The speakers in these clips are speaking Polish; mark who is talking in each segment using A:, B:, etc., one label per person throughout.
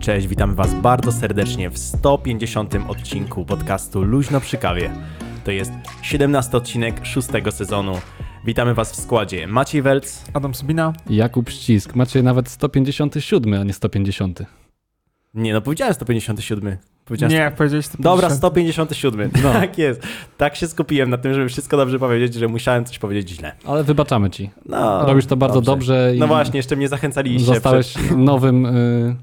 A: Cześć, witam Was bardzo serdecznie w 150 odcinku podcastu Luźno przy kawie. To jest 17 odcinek szóstego sezonu. Witamy Was w składzie Maciej Welc,
B: Adam Subina.
C: Jakub Ścisk, macie nawet 157, a nie 150.
A: nie no powiedziałem 157. Powiedziałem
B: Nie, powiedziałeś to.
A: tak? Dobra,
B: stop.
A: 157.
C: No.
A: Tak jest. Tak się skupiłem na tym, żeby wszystko dobrze powiedzieć, że musiałem coś powiedzieć źle.
C: Ale wybaczamy ci.
A: No,
C: Robisz to bardzo dobrze, i
A: No właśnie, jeszcze mnie zachęcaliście.
C: zostałeś nowym. Y...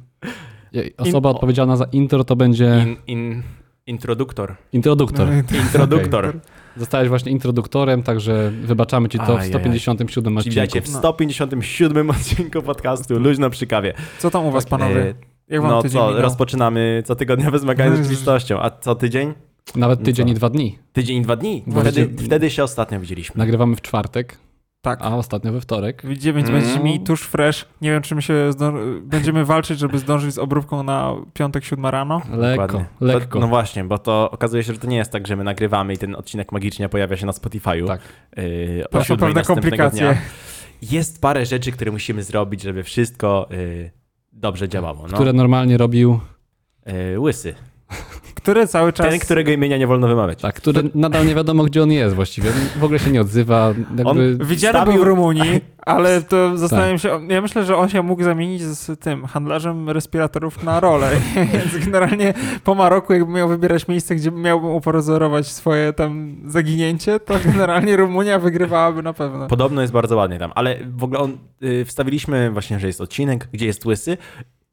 C: je- Osoba
A: In-
C: odpowiedzialna za intro to będzie
A: Przed... In, Mm. in, introduktor.
C: introduktor.
B: Mm,
A: Introduktor.
B: Introduktor.
C: Zostałeś właśnie introduktorem, także wybaczamy ci to w
A: Ajajaj.
C: 157
A: Czyli witajcie
C: odcinku. No.
A: w 157 odcinku podcastu Luźno przy kawie.
B: Co tam u was,
A: E,
B: panowie? Jak wam
A: no
B: tydzień
A: co,
B: minął?
A: rozpoczynamy cotygodniowe zmagania z rzeczywistością. A co tydzień?
C: Nawet tydzień
A: Co?
C: i dwa dni.
A: Tydzień i dwa dni.
C: Właśnie-
A: Wtedy, wtedy się ostatnio widzieliśmy.
C: Nagrywamy w czwartek,
B: Tak.
C: a ostatnio we wtorek.
B: 9
A: Mm.
B: będzie mi tuż fresh. Nie wiem, czy my się zdąży... będziemy walczyć, żeby zdążyć z obróbką na piątek, siódma rano.
C: Lekko,
A: Dokładnie.
C: lekko.
A: To, no właśnie, bo to okazuje się, że to nie jest tak, że my nagrywamy i ten odcinek magicznie pojawia się na Spotify'u.
C: Tak.
A: Yy,
B: To
A: o
B: są
A: siódmej
B: pewne
A: następnego
B: komplikacje.
A: dnia. Jest parę rzeczy, które musimy zrobić, żeby wszystko yy, dobrze działało. No.
C: Które normalnie robił,
A: Yy, łysy.
B: Który cały czas...
A: Ten, którego imienia nie wolno wymawiać.
C: tak, który nadal nie wiadomo, gdzie on jest właściwie. W ogóle się nie odzywa. Jakby...
B: Widziany
A: Wstawił-
B: był w Rumunii, ale to
C: Tak.
B: zastanawiam się, ja myślę, że on się mógł zamienić z tym handlarzem respiratorów na rolę, więc generalnie po Maroku jakbym miał wybierać miejsce, gdzie miałbym upozorować swoje tam zaginięcie, to generalnie Rumunia wygrywałaby na pewno.
A: Podobno jest bardzo ładnie tam, ale w ogóle on, y, wstawiliśmy właśnie, że jest odcinek, gdzie jest łysy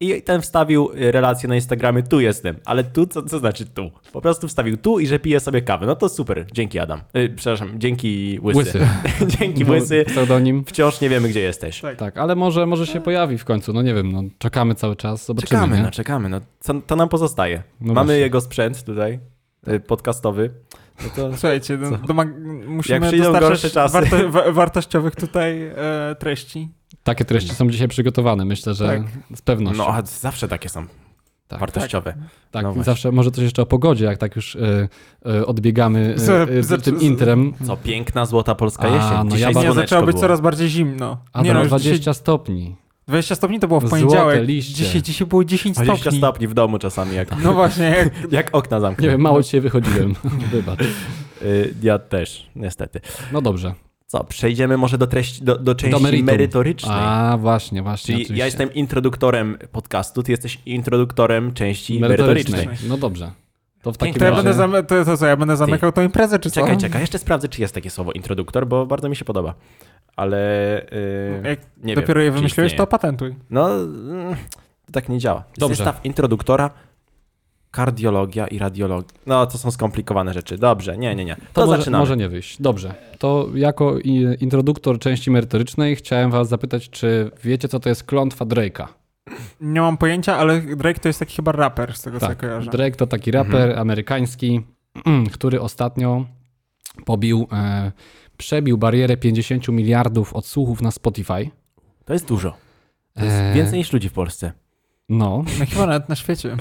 A: i ten wstawił y, relację na Instagramie, tu jestem, ale tu, co, co znaczy tu? Po prostu wstawił tu i że pije sobie kawę. No to super, dzięki Adam. Y, przepraszam, dzięki łysy.
C: Łysy. No.
A: dzięki łysy.
C: Pseudonim.
A: Wciąż nie wiemy, gdzie jesteś.
B: Tak.
C: Tak, ale może, może się pojawi w końcu, no nie wiem, no czekamy cały czas, zobaczymy.
A: Czekamy,
C: nie?
A: no czekamy, no co, to nam pozostaje.
C: No
A: Mamy
C: właśnie.
A: jego sprzęt tutaj, y, podcastowy. No to...
B: Słuchajcie, no, domag- musimy
A: przyjdą gorsze
B: dostarczyć
A: czasy.
B: warto- wa- wartościowych tutaj e, treści.
C: Takie treści są dzisiaj przygotowane, myślę, że z pewnością.
A: No, a zawsze takie są
C: Tak,
A: wartościowe.
C: tak,
A: no właśnie.
C: zawsze może coś jeszcze o pogodzie, jak tak już e, e, odbiegamy e,
B: Za-
C: e,
B: za-
C: tym intrem.
A: Co, piękna, złota polska
C: A,
A: jesień.
C: no
A: Dzisiaj
C: ja bardzo-
B: Nie,
A: słoneczko
B: zaczęło być
A: było.
B: coraz bardziej zimno.
C: A
B: nie,
C: no,
B: już dzisiaj
C: 20 stopni.
B: 20 stopni to było w
C: Złote
B: poniedziałek.
C: liście.
B: Dzisiaj, dzisiaj było 10 stopni.
A: 20 stopni w domu czasami, jak,
B: No właśnie, jak
A: jak okna zamknę.
C: Nie wiem, mało dzisiaj wychodziłem, wybacz.
A: Y, Ja też, niestety.
C: No dobrze,
A: Co, przejdziemy może do treści, do, do części
C: do meritum.
A: merytorycznej.
C: A, właśnie, właśnie,
A: Czyli ja
C: oczywiście.
A: jestem introduktorem podcastu, ty jesteś introduktorem części merytorycznej.
C: Merytorycznej. No dobrze. To w
A: Piękne.
C: takim
B: To ja
C: razie...
B: będę zam- to, to co, ja będę zamykał tą imprezę, czy co?
A: Czekaj, czekaj, jeszcze sprawdzę, czy jest takie słowo introduktor, bo bardzo mi się podoba. Ale y,
B: No, Jak
A: nie
B: dopiero
A: wiem,
B: je
A: czy
B: wymyśliłeś,
A: istnieje.
B: to patentuj.
A: No, mm, to tak nie działa. Jest
C: Dobrze.
A: Zestaw introduktora, kardiologia i radiologia. No, to są skomplikowane rzeczy. Dobrze, nie, nie, nie. To,
C: To, może,
A: zaczynamy.
C: może nie wyjść. Dobrze. To jako i- introduktor części merytorycznej chciałem was zapytać, czy wiecie, co to jest klątwa Drake'a?
B: Nie mam pojęcia, ale Drake to jest taki chyba raper, z tego
C: Tak.
B: co ja kojarzę.
C: Drake to taki raper
A: Mhm.
C: amerykański, który ostatnio pobił, e, przebił barierę 50 miliardów odsłuchów na Spotify.
A: To jest dużo. To jest
C: E,
A: więcej niż ludzi w Polsce.
C: No,
B: No chyba nawet na świecie.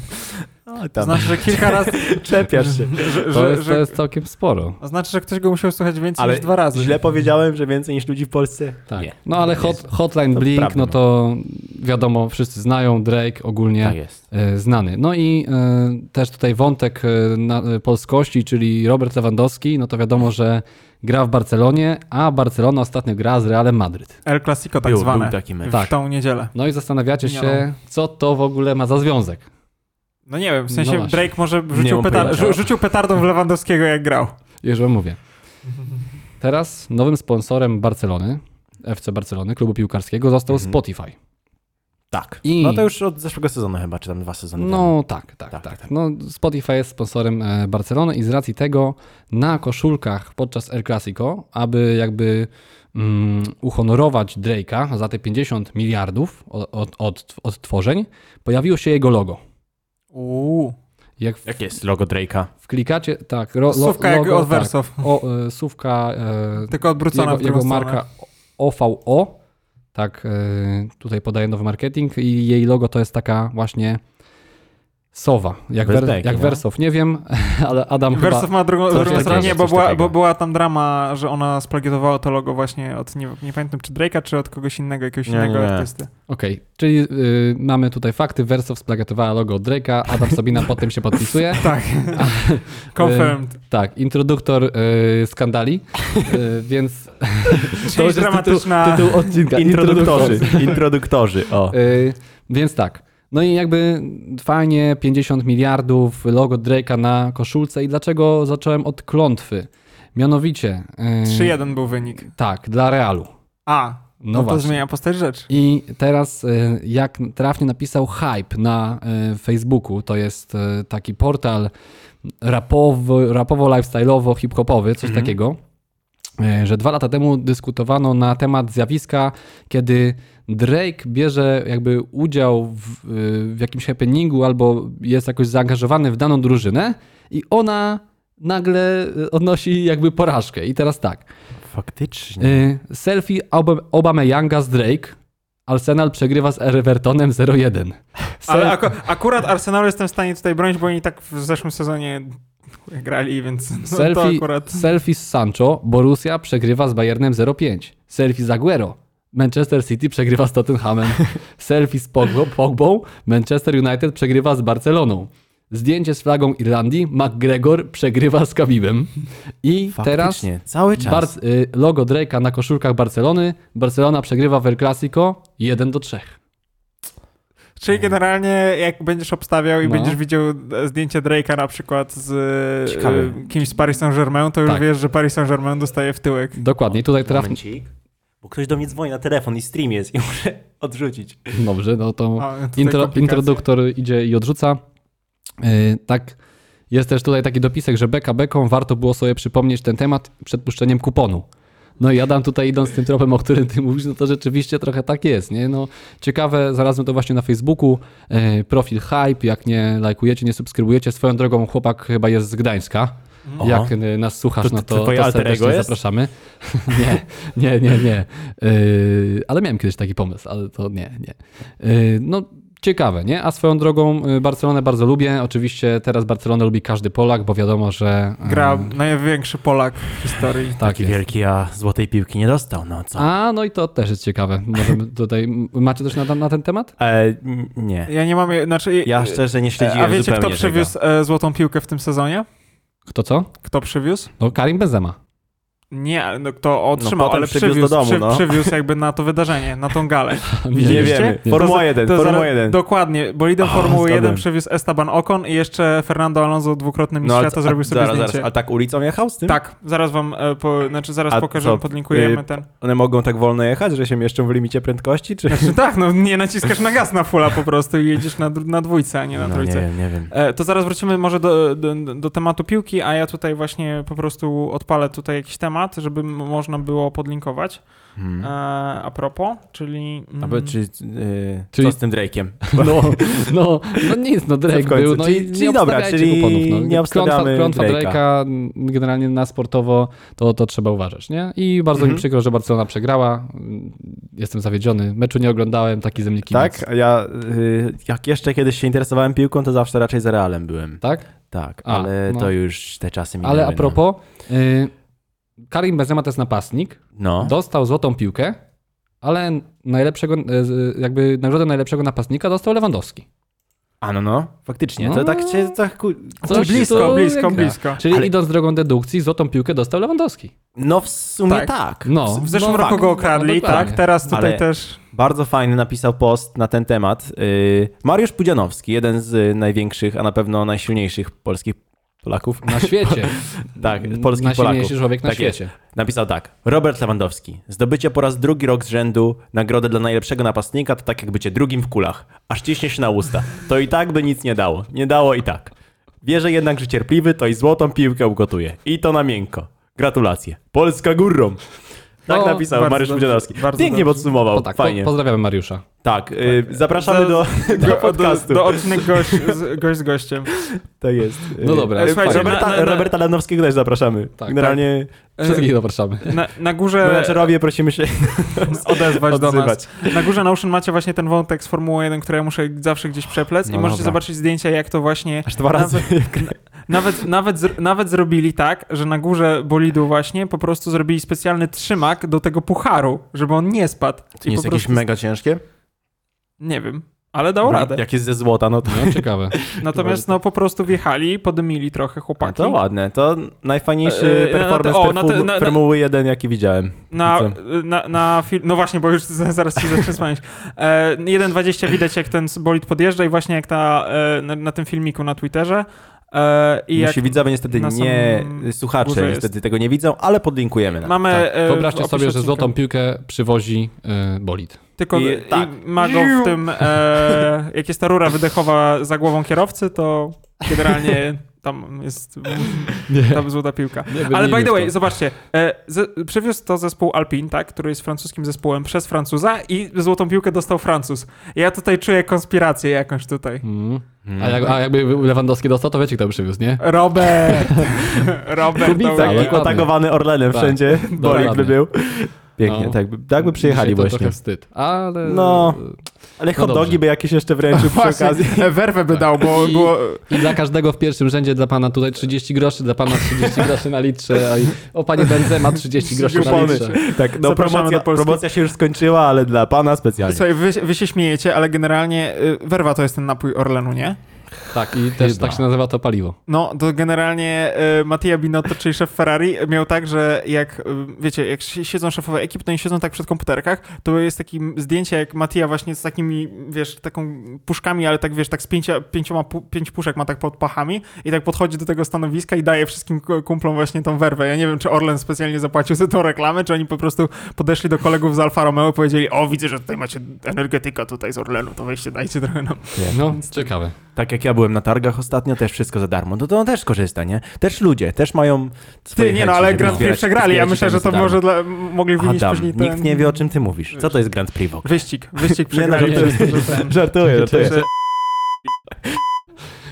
A: O,
B: To znaczy, że kilka razy...
A: Czepiasz się.
B: Że,
C: to
B: że,
C: jest, to
B: że,
C: jest całkiem sporo.
B: to znaczy, że ktoś go musiał słuchać więcej
A: Ale
B: niż dwa razy.
A: Źle powiedziałem, że więcej niż ludzi w Polsce?
C: Tak.
A: Nie.
C: No ale hot, Hotline
A: To
C: Blink,
A: prawda,
C: no
A: no.
C: to wiadomo, wszyscy znają, Drake ogólnie.
A: Tak jest.
C: e, znany. No i e, też tutaj wątek e, na, e, polskości, czyli Robert Lewandowski, no to wiadomo, że gra w Barcelonie, a Barcelona ostatnio gra z Realem Madryt.
B: El Clasico tak
A: Był-
B: zwane.
A: był taki mecz.
B: w
C: Tak.
B: tą niedzielę.
C: No i zastanawiacie
B: Nie
C: się, co to w ogóle ma za związek.
B: No nie wiem, w
C: No
B: sensie
C: właśnie.
B: Drake może
A: Nie
B: rzucił,
A: mam
B: peta-
A: pojęcia.
B: rzu- rzucił petardą w Lewandowskiego, jak grał.
C: Już wam mówię. Teraz nowym sponsorem Barcelony, FC Barcelony, klubu piłkarskiego, został
A: Mhm.
C: Spotify.
A: Tak.
C: I-
A: No to już od zeszłego sezonu chyba, czy tam dwa sezony temu.
C: No tak, tak,
A: Tak,
C: tak.
A: tak.
C: No, Spotify jest sponsorem e, Barcelony i z racji tego na koszulkach podczas El Clasico, aby jakby mm, uhonorować Drake'a za te 50 miliardów od, od, od, odtworzeń, pojawiło się jego logo.
B: Uuu.
C: Jak w,
A: Jakie jest logo Drake'a?
C: wklikacie, tak, ro, lo,
B: Słówka
C: logo,
B: jak od
C: tak.
B: Wersow.
C: O, e, słówka e,
B: Tylko odwrócona w
C: jego,
B: drugą
C: jego
B: stronę.
C: marka OVO, tak, e, tutaj podaje nowy marketing i jej logo to jest taka właśnie Sowa, jak,
A: Bez
C: wer,
A: beki,
C: jak
A: no.
C: Wersow, nie wiem, ale Adam
B: Wersow
C: chyba...
B: ma drugą,
C: coś
B: drugą
C: takiego,
B: stronę, nie, bo,
A: coś
B: była,
A: takiego.
B: bo była tam drama, że ona splagiotowała to logo właśnie od, nie, nie pamiętam, czy Drake'a, czy od kogoś innego, jakiegoś
A: Nie,
B: innego
A: nie.
B: artysty.
C: Okej, czyli y, mamy tutaj fakty, Wersow splagiatowała logo od Drake'a, Adam Sabina pod tym się podpisuje.
B: Tak. Confirmed.
C: Tak, introduktor y, skandali, y, więc
B: To
C: już jest
B: dramatyczna...
C: tytuł odcinka.
A: Introduktorzy, introduktorzy, o.
C: Y, więc tak. No i jakby fajnie 50 miliardów logo Drake'a na koszulce i dlaczego zacząłem od klątwy? Mianowicie y,
B: 3-1 był wynik.
C: tak, dla Realu.
B: A,
C: No,
B: no, to
C: właśnie.
B: zmienia postać rzeczy.
C: I teraz, y, jak trafnie napisał Hype na y, Facebooku, to jest y, taki portal rapowo, rapowo lifestyle'owo, hip-hopowy, coś
A: Mhm.
C: takiego, y, że dwa lata temu dyskutowano na temat zjawiska, kiedy Drake bierze jakby udział w, y, w jakimś happeningu albo jest jakoś zaangażowany w daną drużynę i ona nagle y, odnosi jakby porażkę. I teraz tak,
A: Faktycznie.
C: Y, selfie Ob- Obameyanga z Drake. Arsenal przegrywa z Evertonem 0-1. Sel-
B: Ale aku- akurat Arsenalu jestem w stanie tutaj bronić, bo oni tak w zeszłym sezonie grali, więc no to
C: selfie,
B: akurat...
C: selfie z Sancho. Borussia przegrywa z Bayernem 0-5. Selfie z Aguero. Manchester City przegrywa z Tottenhamem. selfie z Pogbo, Pogbą. Manchester United przegrywa z Barceloną. Zdjęcie z flagą Irlandii. McGregor przegrywa z Khabibem. I teraz
A: Faktycznie, cały czas.
C: Bar- y, logo Drake'a na koszulkach Barcelony. Barcelona przegrywa w El Clasico 1 do 3.
A: No.
B: Czyli generalnie jak będziesz obstawiał i
C: No.
B: będziesz widział e, zdjęcie Drake'a na przykład z e,
A: Ciekawe.
B: kimś z Paris Saint-Germain, to już
C: Tak.
B: wiesz, że Paris Saint-Germain dostaje w tyłek.
C: Dokładnie, tutaj traf...
A: Momencik, bo ktoś do mnie dzwoni na telefon i stream jest i muszę odrzucić.
C: Dobrze, no to
B: A, tutaj
C: intro,
B: komplikacje.
C: introduktor idzie i odrzuca. Yy, tak, jest też tutaj taki dopisek, że beka beką warto było sobie przypomnieć ten temat przed puszczeniem kuponu. No i Adam tutaj idąc tym tropem, o którym ty mówisz, no to rzeczywiście trochę tak jest, nie? No, ciekawe, zarazem to właśnie na Facebooku, yy, profil Hype, jak nie lajkujecie, nie subskrybujecie, swoją drogą chłopak chyba jest z Gdańska.
A: Mhm. Oho.
C: Jak y, nas słuchasz,
A: To-
C: no
A: to
C: to,
A: twoje
C: to
A: alter
C: serdecznie
A: ego jest?
C: zapraszamy. nie, nie, nie, nie. Yy, ale miałem kiedyś taki pomysł, ale to nie, nie. Yy, no, ciekawe, nie? A swoją drogą y, Barcelonę bardzo lubię. Oczywiście teraz Barcelonę lubi każdy Polak, bo wiadomo, że... yy,
B: Gra
A: Mm.
B: największy Polak w historii.
C: tak
A: Taki
C: jest.
A: wielki, a złotej piłki nie dostał, no co?
C: A, no i to też jest ciekawe. Możemy tutaj... m- Macie coś na, na ten temat?
A: E, n- nie.
B: Ja nie mam, je- znaczy...
A: Ja szczerze nie śledziłem
B: a wiecie,
A: zupełnie
B: kto przywiózł e, złotą piłkę w tym sezonie?
C: Kto co?
B: Kto przywiózł?
C: No Karim Benzema.
B: Nie, no, kto otrzymał,
A: potem
B: ale
A: przywiózł
B: przywiózł,
A: do domu,
B: przy,
A: no.
B: przywiózł jakby na to wydarzenie, na tą galę.
A: tego. Nie
B: Widzieliście?
A: wiemy.
C: Nie.
A: Formuła
B: za-
A: 1,
B: to
A: Formuła
B: zaraz-
A: 1.
B: Dokładnie, bo lider
A: O,
B: Formuły 1
A: zgadłem.
B: przywiózł Esteban Ocon i jeszcze Fernando Alonso, dwukrotny mistrz świata, zrobił sobie
A: zaraz,
B: zdjęcie.
A: zaraz, No, a tak ulicą jechał z tym?
B: Tak, zaraz wam, e, po, znaczy zaraz
A: A
B: pokażę,
A: co,
B: podlinkujemy
A: y,
B: ten.
A: One mogą tak wolno jechać, że się mieszczą w limicie prędkości, czy...
B: Znaczy tak, no nie naciskasz na gaz na fula po prostu i jedziesz na, dru- na dwójce, a nie na
A: No, nie
B: trójce.
A: wiem, nie wiem.
B: E, to zaraz wrócimy może do, do, do tematu piłki, a ja tutaj właśnie po prostu odpalę tutaj jakiś temat, żeby m- można było podlinkować. E,
A: Hmm.
B: a propos, czyli... mm,
A: Aby, czy, y,
C: Czyli-
A: Co z tym Drake'iem?
C: No, no, no nic, no Drake
A: w końcu?
C: był, no
A: Czyli-
C: i nie
A: czyli dobra,
C: obstawiajcie
A: czyli
C: kuponów, no.
A: nie obstawiamy
C: Klątwa, klątwa
A: Drake'a.
C: Drake'a m, generalnie na sportowo to, to trzeba uważać, nie? I bardzo mi
A: Mhm.
C: przykro, że Barcelona przegrała. Mm, Jestem zawiedziony. Meczu nie oglądałem, taki ze mnie kibic.
A: Tak, a ja y, jak jeszcze kiedyś się interesowałem piłką, to zawsze raczej za Realem byłem.
C: Tak?
A: Tak,
C: A,
A: ale
C: no.
A: to już te czasy minęły. no.
C: Ale a propos, y, Karim Benzema to jest napastnik,
A: No. no.
C: dostał złotą piłkę, ale najlepszego, y, z- jakby nagrodę najlepszego napastnika dostał Lewandowski.
A: A no, no, faktycznie.
C: No.
A: To tak cię... Tak, ku...
C: Coś
B: blisko,
C: tu
B: blisko,
A: Tak.
C: jak gra.
B: blisko.
C: Czyli
A: Ale-
C: idąc drogą dedukcji, złotą piłkę dostał Lewandowski.
A: No w sumie
B: Tak.
A: tak.
C: No.
B: W zeszłym
A: No
B: roku
A: fakt,
B: go
A: no
B: okradli,
C: dokładnie.
B: tak? Teraz tutaj
A: Ale-
B: też...
A: Bardzo fajny napisał post na ten temat. y, Mariusz Pudzianowski, jeden z y, największych, a na pewno najsilniejszych polskich Polaków.
C: Na świecie.
A: Tak, polskich Polaków.
C: Najsilniejszy człowiek na
A: Tak jest.
C: świecie.
A: Napisał tak. Robert Lewandowski. Zdobycie po raz drugi rok z rzędu nagrodę dla najlepszego napastnika to tak jak bycie drugim w kulach. Aż ciśnie się na usta. To i tak by nic nie dało. Nie dało i tak. Wierzę jednak, że cierpliwy to i złotą piłkę ugotuje. I to na miękko. Gratulacje. Polska górą. Tak
C: O,
A: napisał
B: bardzo
A: Mariusz
B: dobrze,
A: Budzianowski.
B: bardzo
A: Pięknie
B: dobrze.
A: podsumował,
C: Po, tak, po,
A: fajnie.
C: pozdrawiamy Mariusza.
A: tak, y, zapraszamy
B: Za-
A: do, do, podcastu.
B: Do, do odcinek gość z, gość z gościem. E,
A: to jest.
C: No
A: Y,
C: dobra,
A: y,
B: słuchajcie,
A: Roberta,
B: na- na- na-
A: Roberta Lanowskiego też zapraszamy.
C: Tak,
A: Generalnie
C: Wszystkich zapraszamy.
B: Na, na
A: tak.
B: górze
A: menadżerowie prosimy się
B: odezwać do nas.
A: odzywać.
B: Na górze Notion macie właśnie ten wątek z Formuły 1, który ja muszę zawsze gdzieś przeplec i
C: No
B: możecie
C: dobra.
B: zobaczyć zdjęcia, jak to właśnie
A: Aż tak. dwa razy.
B: Nawet, nawet, zr- nawet zrobili tak, że na górze bolidu właśnie po prostu zrobili specjalny trzymak do tego pucharu, żeby on nie spadł.
A: To nie jest
B: po
A: jakieś
B: prostu-
A: mega ciężkie?
B: Nie wiem, ale dało radę.
A: No, Jak jest ze złota, no to, tak.
C: No, ciekawe.
B: Natomiast no po prostu wjechali, podymili trochę
A: no
B: chłopaki.
A: to ładne. To najfajniejszy
B: E, e, na-
A: performance
B: o, na te-
A: perfu-
B: na- na-
A: Formuły 1, jaki widziałem.
B: Na,
A: Co?
B: na, na fil- no właśnie, bo już z- zaraz się zacznę spanić. E, 1.20 widać, jak ten bolid podjeżdża i właśnie jak ta, e, na, na tym filmiku na Twitterze. E, i jak
A: Nasi widzowie niestety
B: na
A: nie,
B: samym górze
A: słuchacze
B: jest.
A: niestety tego nie widzą, ale podlinkujemy. Nam.
B: mamy...
C: Tak.
B: e, w
C: Wyobraźcie
B: opisie
C: sobie, że
B: odcinka-
C: złotą piłkę przywozi y, bolid.
B: Tylko
A: I-
B: i,
A: tak.
B: ma go w tym, e, jak jest ta rura wydechowa za głową kierowcy, to generalnie tam jest tam złota piłka. Ale by the way, zobaczcie, e, z, przywiózł to zespół Alpine, tak, który jest francuskim zespołem przez Francuza i złotą piłkę dostał Francuz. Ja tutaj czuję konspirację jakąś tutaj.
C: Mm.
A: Hmm.
C: A, jak, a jakby Lewandowski dostał, to wiecie, kto by przywiózł, nie?
B: Robert! Robert
C: Kubica,
A: Tak,
C: ale
A: jak
C: ładnie.
A: atakowany Orlenem
C: Tak.
A: wszędzie, bolik by
C: ładnie.
A: był. Pięknie,
C: No.
A: tak, by, tak by przyjechali
C: Dzisiaj to
A: właśnie.
C: trochę wstyd, ale...
A: No. Ale
C: No
A: hot dogi
C: dobrze.
A: by jakieś jeszcze wręczył przy okazji.
B: werwę by
C: dał,
B: bo
C: I- było- I dla każdego w pierwszym rzędzie, dla pana tutaj 30 groszy, dla pana 30 groszy na litrze, a i, o panie Benzema 30 groszy na
A: Kupony.
C: litrze.
A: Tak, no
B: Zapraszamy
A: promocja,
B: do Polski.
A: promocja się już skończyła, ale dla pana specjalnie.
B: Słuchaj, wy, wy się śmiejecie, ale generalnie y, werwa to jest ten napój Orlenu, nie?
C: Tak, i też
A: Chyba.
C: tak się nazywa to paliwo.
B: No, to generalnie y, Mattia Binotto, czyli szef Ferrari, miał tak, że jak, y, wiecie, jak si- siedzą szefowie ekip, to nie siedzą tak przed komputerkach, to jest takie zdjęcie, jak Mattia właśnie z takimi, wiesz, taką puszkami, ale tak, wiesz, tak z pięcia, pięcioma, pu, pięć puszek ma tak pod pachami i tak podchodzi do tego stanowiska i daje wszystkim k- kumplom właśnie tą werwę. Ja nie wiem, czy Orlen specjalnie zapłacił za tą reklamę, czy oni po prostu podeszli do kolegów z Alfa Romeo i powiedzieli, o, widzę, że tutaj macie energetyka tutaj z Orlenu, to weźcie, dajcie trochę nam.
C: No, ciekawe.
A: Tak jak ja byłem na targach ostatnio, też wszystko za darmo. No to on też korzysta, nie? Też ludzie, też mają swoje
B: Ty, nie
A: chęci,
B: no, ale
A: żeby
B: Grand Prix
A: zbierać-
B: przegrali. Ja
A: zbierać
B: myślę, że
A: itemy
B: to
A: za darmo.
B: może dla, mogli winić
A: Adam,
B: później ten...
A: nikt nie wie o czym ty mówisz. Co to jest Grand Prix w ogóle?
B: Wyścig, wyścig
A: Nie, no,
B: przegrali.
A: żartuję.
B: przez to, że ten-
A: Żartuję, żartuję.
B: że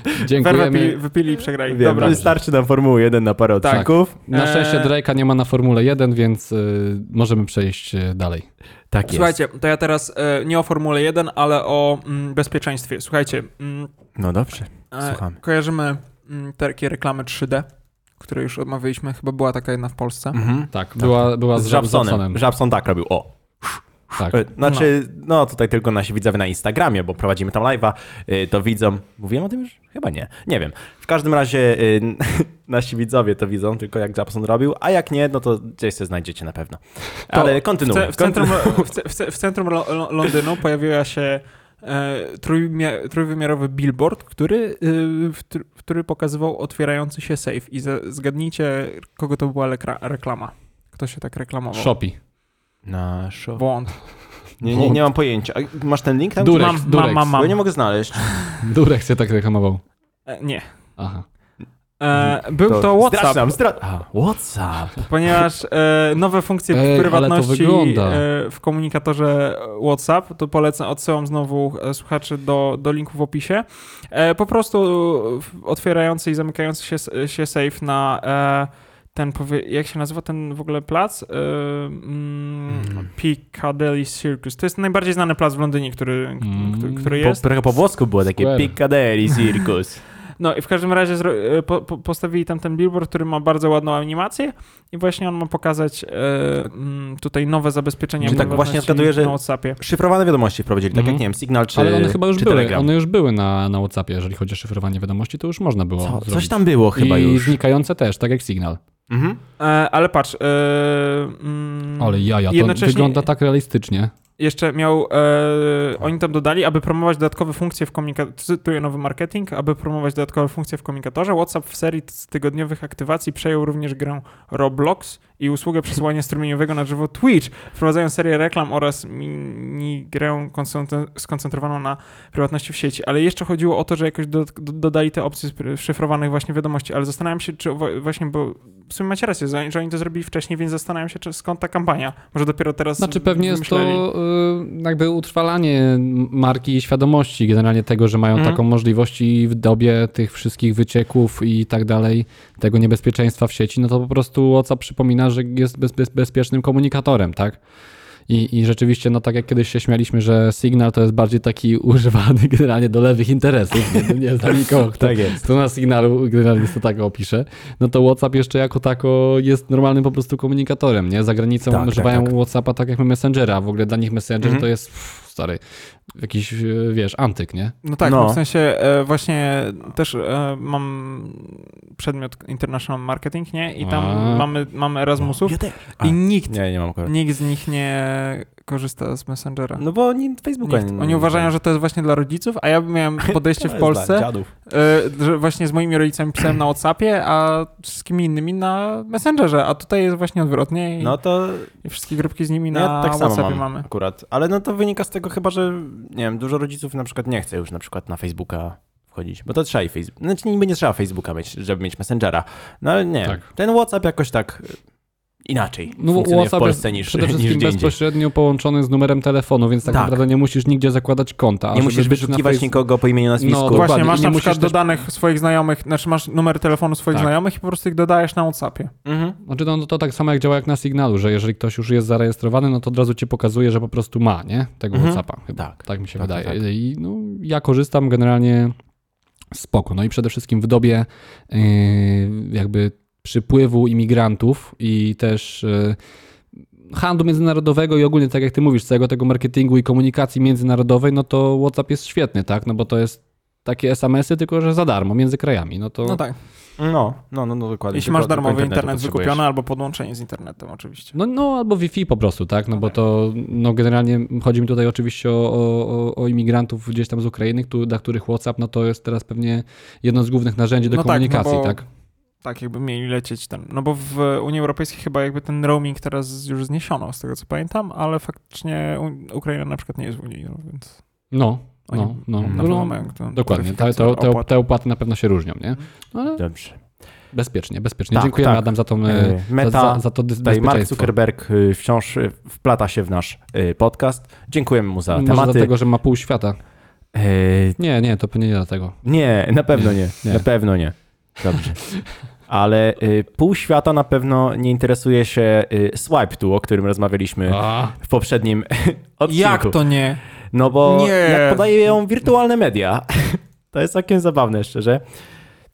B: Werwę pili,
C: Dziękujemy.
B: wypili i przegrali.
A: Wiem,
B: Dobra.
A: Wystarczy nam Formuły 1 na parę
B: Tak.
A: odcinków.
C: Na szczęście
B: Eee.
C: Drake'a nie ma na Formule 1, więc y, możemy przejść y, dalej.
A: Tak jest.
B: Słuchajcie, to ja teraz e, nie o Formule 1, ale o mm, bezpieczeństwie. Słuchajajcie, mm,
A: No dobrze,
B: e,
A: słuchamy.
B: kojarzymy mm, takie reklamy 3D, które już omawialiśmy. Chyba była taka jedna w Polsce.
A: Mhm.
C: Tak, była, była z
A: Z
C: Żabsonem.
A: Żabsonem. Żabson tak robił, o.
C: Tak.
A: E, Znaczy, no tutaj tylko nasi widzowie na Instagramie, bo prowadzimy tam live'a, e, to widzą. Mówiłem o tym już? Chyba nie. Nie wiem. W każdym razie e, nasi widzowie to widzą, tylko jak Jabson robił, a jak nie, no to gdzieś się znajdziecie na pewno. Ale
B: W,
A: kontynuuj.
B: ce- w centrum, w, ce- w, ce- w centrum Lo- Lo- Londynu pojawiła się e, trójmia- trójwymiarowy billboard, który, e, w, tr- który pokazywał otwierający się safe. I za- zgadnijcie, kogo to była lekra- reklama. Kto się tak reklamował?
C: Shopi.
A: Na show.
B: Błąd.
A: Nie, nie, nie mam pojęcia. A Masz ten link tam?
C: Durek,
B: mam- mam-
C: Durek.
B: mam-
A: Bo ja No nie mogę znaleźć.
C: Durek się tak reklamował.
B: E, nie.
C: Aha.
B: E, był to,
A: Zdradź
B: WhatsApp,
A: nam, zdradź- A, WhatsApp.
B: ponieważ e, nowe funkcje
C: Ej, ale to
B: prywatności
C: wygląda.
B: e, w komunikatorze WhatsApp, to polecam, odsyłam znowu e, słuchaczy do, do linku w opisie. E, po prostu w- otwierający i zamykający się, s- się safe na e, ten, powie, jak się nazywa ten w ogóle plac? E, mm,
C: Mhm.
B: Piccadilly Circus. To jest najbardziej znany plac w Londynie, który,
C: Mm.
B: który, który
A: Po,
B: jest.
A: trochę po włosku było takie
C: Square.
A: Piccadilly Circus.
B: No i w każdym razie zro- e, po, po, postawili tam ten billboard, który ma bardzo ładną animację i właśnie on ma pokazać e, mm, tutaj nowe zabezpieczenia
A: Czyli tak
B: prywatności
A: właśnie zgaduję, że-
B: na WhatsAppie.
A: Szyfrowane wiadomości wprowadzili, tak
C: Mhm.
A: jak nie wiem, Signal czy
C: Ale one chyba już
A: czy
C: były.
A: Telegram.
C: One już były na, na WhatsAppie, jeżeli chodzi o szyfrowanie wiadomości, to już można było.
A: Co,
C: zrobić.
A: coś tam było chyba
C: I
A: już.
C: znikające też, tak jak sygnał.
A: Mhm.
B: E, ale patrz, e, mm,
C: Ale jaja, to
B: jednocześnie
C: wygląda tak realistycznie.
B: jeszcze miał, e, oni tam dodali, aby promować dodatkowe funkcje w komunikatorze, cytuję nowy marketing, aby promować dodatkowe funkcje w komunikatorze, WhatsApp w serii z tygodniowych aktywacji przejął również grę Roblox i usługę przesyłania strumieniowego na żywo Twitch. Wprowadzają serię reklam oraz minigrę koncentre- skoncentrowaną na prywatności w sieci. Ale jeszcze chodziło o to, że jakoś do, do, dodali te opcje spry- szyfrowanych właśnie wiadomości, ale zastanawiam się, czy wa- właśnie, bo w sumie macie rację, że oni- że oni to zrobili wcześniej, więc zastanawiam się, czy skąd ta kampania. Może dopiero teraz
C: Znaczy pewnie jest
B: wymyśleli.
C: to y, jakby utrwalanie marki i świadomości generalnie tego, że mają
B: Mhm.
C: taką możliwość i w dobie tych wszystkich wycieków i tak dalej, tego niebezpieczeństwa w sieci, no to po prostu WhatsApp przypomina, że jest bez, bez, bezpiecznym komunikatorem, tak? I, I rzeczywiście, no tak jak kiedyś się śmialiśmy, że Signal to jest bardziej taki używany generalnie do lewych interesów, nie, nie znam nikogo, kto,
A: Tak jest.
C: to na sygnalu generalnie to tak opiszę, no to WhatsApp jeszcze jako tako jest normalnym po prostu komunikatorem, nie? Za granicą
A: Tak, tak,
C: używają
A: tak.
C: WhatsAppa tak jak my Messengera, w ogóle dla nich Messenger
B: Mhm.
C: to jest, pff, stary, jakiś, e, wiesz, antyk, nie?
B: No tak,
A: No.
B: no. w sensie e, właśnie też e, mam przedmiot International Marketing, nie? I tam
C: A.
B: mamy, mamy Erasmusów
A: Ja też.
B: i nikt,
A: Nie, nie mam akurat.
B: nikt z nich nie korzysta z Messengera.
A: No bo oni Facebooka
B: Nikt. Oni uważają, że to jest właśnie dla rodziców, a ja miałem podejście w Polsce, e, że właśnie z moimi rodzicami pisałem na WhatsAppie, a z kim innymi na Messengerze, a tutaj jest właśnie odwrotnie i,
A: No to
B: i wszystkie grupki z nimi
A: no
B: na
A: ja tak samo
B: WhatsAppie
A: mam
B: mamy.
A: akurat. Ale no to wynika z tego chyba, że nie wiem, dużo rodziców na przykład nie chce już na przykład na Facebooka wchodzić, bo to trzeba i Facebook. Znaczy niby nie trzeba Facebooka mieć, żeby mieć Messengera. No ale nie,
C: Tak.
A: ten WhatsApp jakoś tak y, inaczej
C: No,
A: funkcjonuje
C: WhatsApp
A: w Polsce
C: jest
A: niż,
C: przede
A: niż
C: wszystkim
A: gdzie indziej.
C: bezpośrednio połączony z numerem telefonu, więc tak,
A: Tak.
C: naprawdę nie musisz nigdzie zakładać konta. a
A: Nie
C: żeby
A: musisz
C: być na
A: wyszukiwać
C: Face-
A: nikogo po imieniu nazwisku.
C: No,
B: Właśnie,
C: Dokładnie,
B: masz
C: i
B: na
C: nie
B: przykład
C: musisz też-
B: dodanych swoich znajomych, znaczy masz numer telefonu swoich
C: Tak.
B: znajomych i po prostu ich dodajesz na WhatsAppie.
A: Mhm.
C: Znaczy, no, to tak samo jak działa jak na Signalu, że jeżeli ktoś już jest zarejestrowany, no to od razu ci pokazuje, że po prostu ma, nie? Tego
A: Mhm.
C: WhatsAppa chyba.
A: Tak.
C: Tak mi się
A: Tak,
C: wydaje.
A: tak,
C: I no, ja korzystam generalnie spoko. No i przede wszystkim w dobie yy, jakby przypływu imigrantów i też yy, handlu międzynarodowego i ogólnie, tak jak ty mówisz, całego tego marketingu i komunikacji międzynarodowej, no to WhatsApp jest świetny, tak? No bo to jest takie SMS-y, y, tylko że za darmo między krajami. No to
B: No tak.
A: No, no, no, no dokładnie.
B: Jeśli masz
A: Tylko- tylko
B: darmowy
A: internetu
B: internet
A: potrzebujesz.
B: wykupiony albo podłączenie z internetem oczywiście.
C: No, no albo Wi-Fi po prostu, tak? No
B: No
C: bo
B: tak.
C: to no generalnie chodzi mi tutaj oczywiście o, o, o- o imigrantów gdzieś tam z Ukrainy, któ- dla których WhatsApp no to jest teraz pewnie jedno z głównych narzędzi do
B: No tak, no
C: komunikacji,
B: bo-
C: tak?
B: Tak, jakby mieli lecieć tam. No bo w Unii Europejskiej chyba jakby ten roaming teraz już zniesiono, z tego co pamiętam, ale faktycznie U- Ukraina na przykład nie jest w Unii, no więc
C: No,
B: oni
C: no, no.
A: na
C: no,
B: pewno
C: no,
B: mają tę
C: Dokładnie, te,
B: taryfikację
C: te, te,
B: opłat.
C: te opłaty na pewno się różnią, nie? No, ale
A: Dobrze.
C: bezpiecznie, bezpiecznie.
A: Tak,
C: Dziękujemy
A: tak.
C: Adam za tą
A: E,
C: e,
A: Meta,
C: za, za, za to dy-
A: Tutaj Mark
C: bezpieczeństwo.
A: Zuckerberg y, wciąż y, wplata się w nasz y, podcast. Dziękujemy mu za
C: Może
A: tematy.
C: dlatego, że ma pół świata.
A: Y,
C: Nie, nie, to pewnie nie dlatego.
A: Nie, na pewno nie.
C: Nie.
A: Na pewno nie. Dobrze. Ale y, pół świata na pewno nie interesuje się y, Swipe Tu, o którym rozmawialiśmy
C: A,
A: w poprzednim odcinku.
B: Jak to nie?
A: No bo
B: Nie.
A: jak podaje ją wirtualne media, to jest całkiem zabawne, szczerze.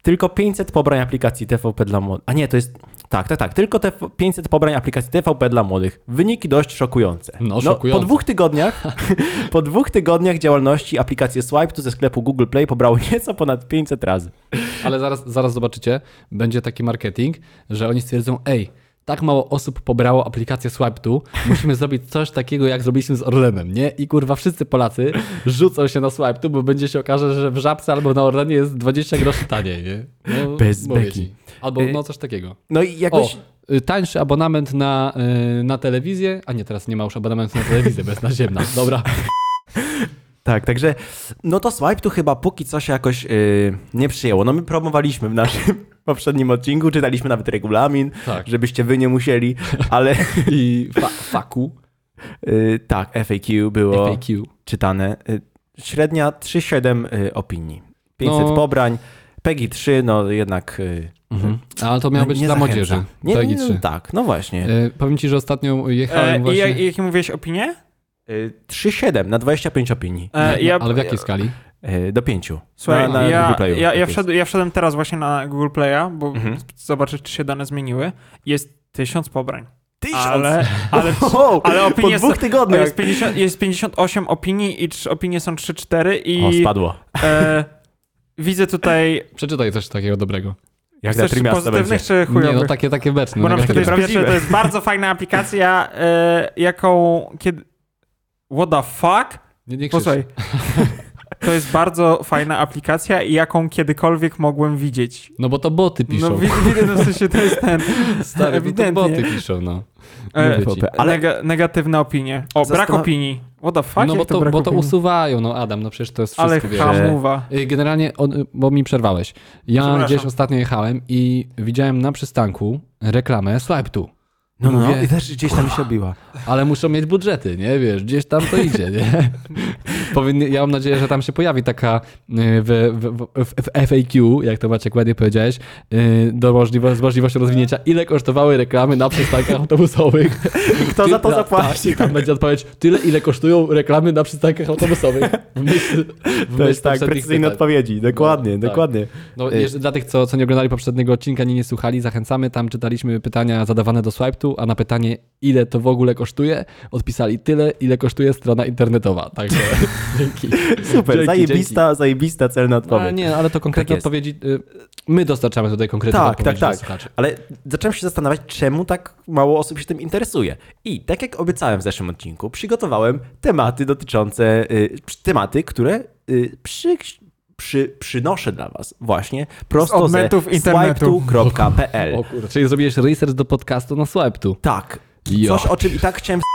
A: Tylko 500 pobrań aplikacji TVP dla młodych. A nie, to jest. Tak, tak, tak. Tylko te 500 pobrań aplikacji TVP dla młodych. Wyniki dość szokujące.
C: No, szokujące.
A: Po dwóch tygodniach, po dwóch tygodniach działalności aplikacje Swipe tu ze sklepu Google Play pobrało nieco ponad 500 razy.
C: Ale zaraz, zaraz zobaczycie, będzie taki marketing, że oni stwierdzą, ej, tak mało osób pobrało aplikację Swipe tu, musimy zrobić coś takiego, jak zrobiliśmy z Orlenem, nie? I kurwa, wszyscy Polacy rzucą się na Swipe tu, bo będzie się okaże, że w Żabce albo na Orlenie jest 20 groszy taniej, nie? No,
A: Bez
C: mówię
A: beki.
C: ci. Albo no coś takiego.
A: No i jakoś.
C: O, y, tańszy abonament na, y, na telewizję, a nie, teraz nie ma już abonamentu na telewizję, bo jest naziemna. Dobra,
A: Tak, także. No to Swipe tu chyba póki co się jakoś yy, nie przyjęło. No my promowaliśmy w naszym poprzednim odcinku, czytaliśmy nawet regulamin,
C: tak.
A: żebyście wy nie musieli, ale.
C: I fa- faku,
A: Y, tak, FAQ było
C: FAQ.
A: czytane. Y, średnia 3,7 y, opinii. 500
C: No.
A: pobrań. PEGI 3, no jednak. Y,
C: Mhm. Ale to miało
A: no,
C: być
A: nie
C: dla
A: zachęca.
C: młodzieży.
A: Nie,
C: Pegi
A: nie,
C: trzy.
A: no, tak, no właśnie.
C: E, powiem ci, że ostatnio jechałem
B: E, i,
C: właśnie.
B: jak- I jakie mówiłeś opinie?
A: Y, 3,7 na 25 opinii.
B: E,
C: No,
B: ja-
C: ale w jakiej skali?
A: Y, do 5.
B: Słuchaj,
A: na, na
B: ja,
A: Google Playu.
B: ja,
A: Tak
B: ja,
A: jest.
B: wszedł, ja wszedłem teraz właśnie na Google Playa, bo
A: Mhm.
B: zobaczę, czy się dane zmieniły. Jest tysiąc pobrań.
A: Tysiąc!
B: Ale, ale,
A: Wow,
B: ale
A: po
B: opinie są,
A: dwóch tygodniach.
B: jest, 50, jest 58 opinii i trz- opinie są 3-4
A: O,
B: i
A: spadło.
B: e, widzę tutaj
C: Przeczytaj coś takiego dobrego.
A: Jak na
B: chcesz
A: Trymiasta
B: pozytywnych
A: będzie.
B: czy
C: Nie,
B: chujowych?
C: no takie, takie beczne.
B: Bo
C: no,
B: na przykład jest
C: takie-
A: prawdziwe.
B: pierwsze, to jest bardzo fajna aplikacja, e, jaką kiedy... What the fuck?
C: nie, nie krzycz.
B: Posłuchaj. to jest bardzo fajna aplikacja, jaką kiedykolwiek mogłem widzieć.
C: No bo to boty piszą.
B: No widzę, no w sensie to jest ten.
C: Stary, no to
B: ewidentnie.
C: boty piszą, no.
B: E,
C: Mówię ci.
B: Ale nega, negatywna opinia. O,
A: Zastan-
B: brak opinii. What the fuck?
C: No bo
B: jak
C: to,
B: brak
C: bo to
B: opinii?
C: usuwają, no Adam, no przecież to jest
B: Ale
C: wszystko, wiesz.
B: hamuwa.
C: Y, Generalnie, on, y, bo mi przerwałeś. Ja
B: Przepraszam.
C: gdzieś ostatnio jechałem i widziałem na przystanku reklamę Swipe tu.
A: No, no,
C: Mówię,
A: i też gdzieś tam mi się obiła.
C: Ale muszą mieć budżety, nie? Wiesz, gdzieś tam to idzie, nie? Powinny, ja mam nadzieję, że tam się pojawi taka y, w, w, w, w FAQ, jak to Maciek ładnie powiedziałeś, y, do możliwości, z możliwością rozwinięcia, ile kosztowały reklamy na przystankach autobusowych.
A: Kto za to
C: Ta-
A: zapłaci?
C: Tak, tam będzie odpowiedź, tyle ile kosztują reklamy na przystankach autobusowych. W myśl, w
A: To
C: myśl
A: jest tak,
C: poprzednich
A: precyzyjne
C: pytań.
A: odpowiedzi. Dokładnie,
C: No, tak.
A: dokładnie.
C: No,
A: Y-
C: jeszcze dla tych, co, co nie oglądali poprzedniego odcinka, nie, nie słuchali, zachęcamy. Tam czytaliśmy pytania zadawane do Swiptu, a na pytanie, ile to w ogóle kosztuje, odpisali tyle, ile kosztuje strona internetowa. Także dzięki.
A: Super,
C: Dzięki,
A: zajebista, zajebista celna
C: dzięki. A
A: odpowiedź.
C: nie, ale to konkretne
A: Tak jest.
C: odpowiedzi. y, My dostarczamy tutaj konkretne
A: Tak, tak,
C: odpowiedzi do
A: tak.
C: słuchaczy.
A: Ale zacząłem się zastanawiać, czemu tak mało osób się tym interesuje. I tak jak obiecałem w zeszłym odcinku, przygotowałem tematy dotyczące, y, przy- tematy, które y, przy, przy, przynoszę dla was właśnie prosto
B: odmętów
A: ze
B: internetu.
A: swipetu.pl.
C: O kurczę, czyli zrobiłeś research do podcastu na Swiptu.
A: Tak,
C: Ja.
A: coś o czym i tak chciałem...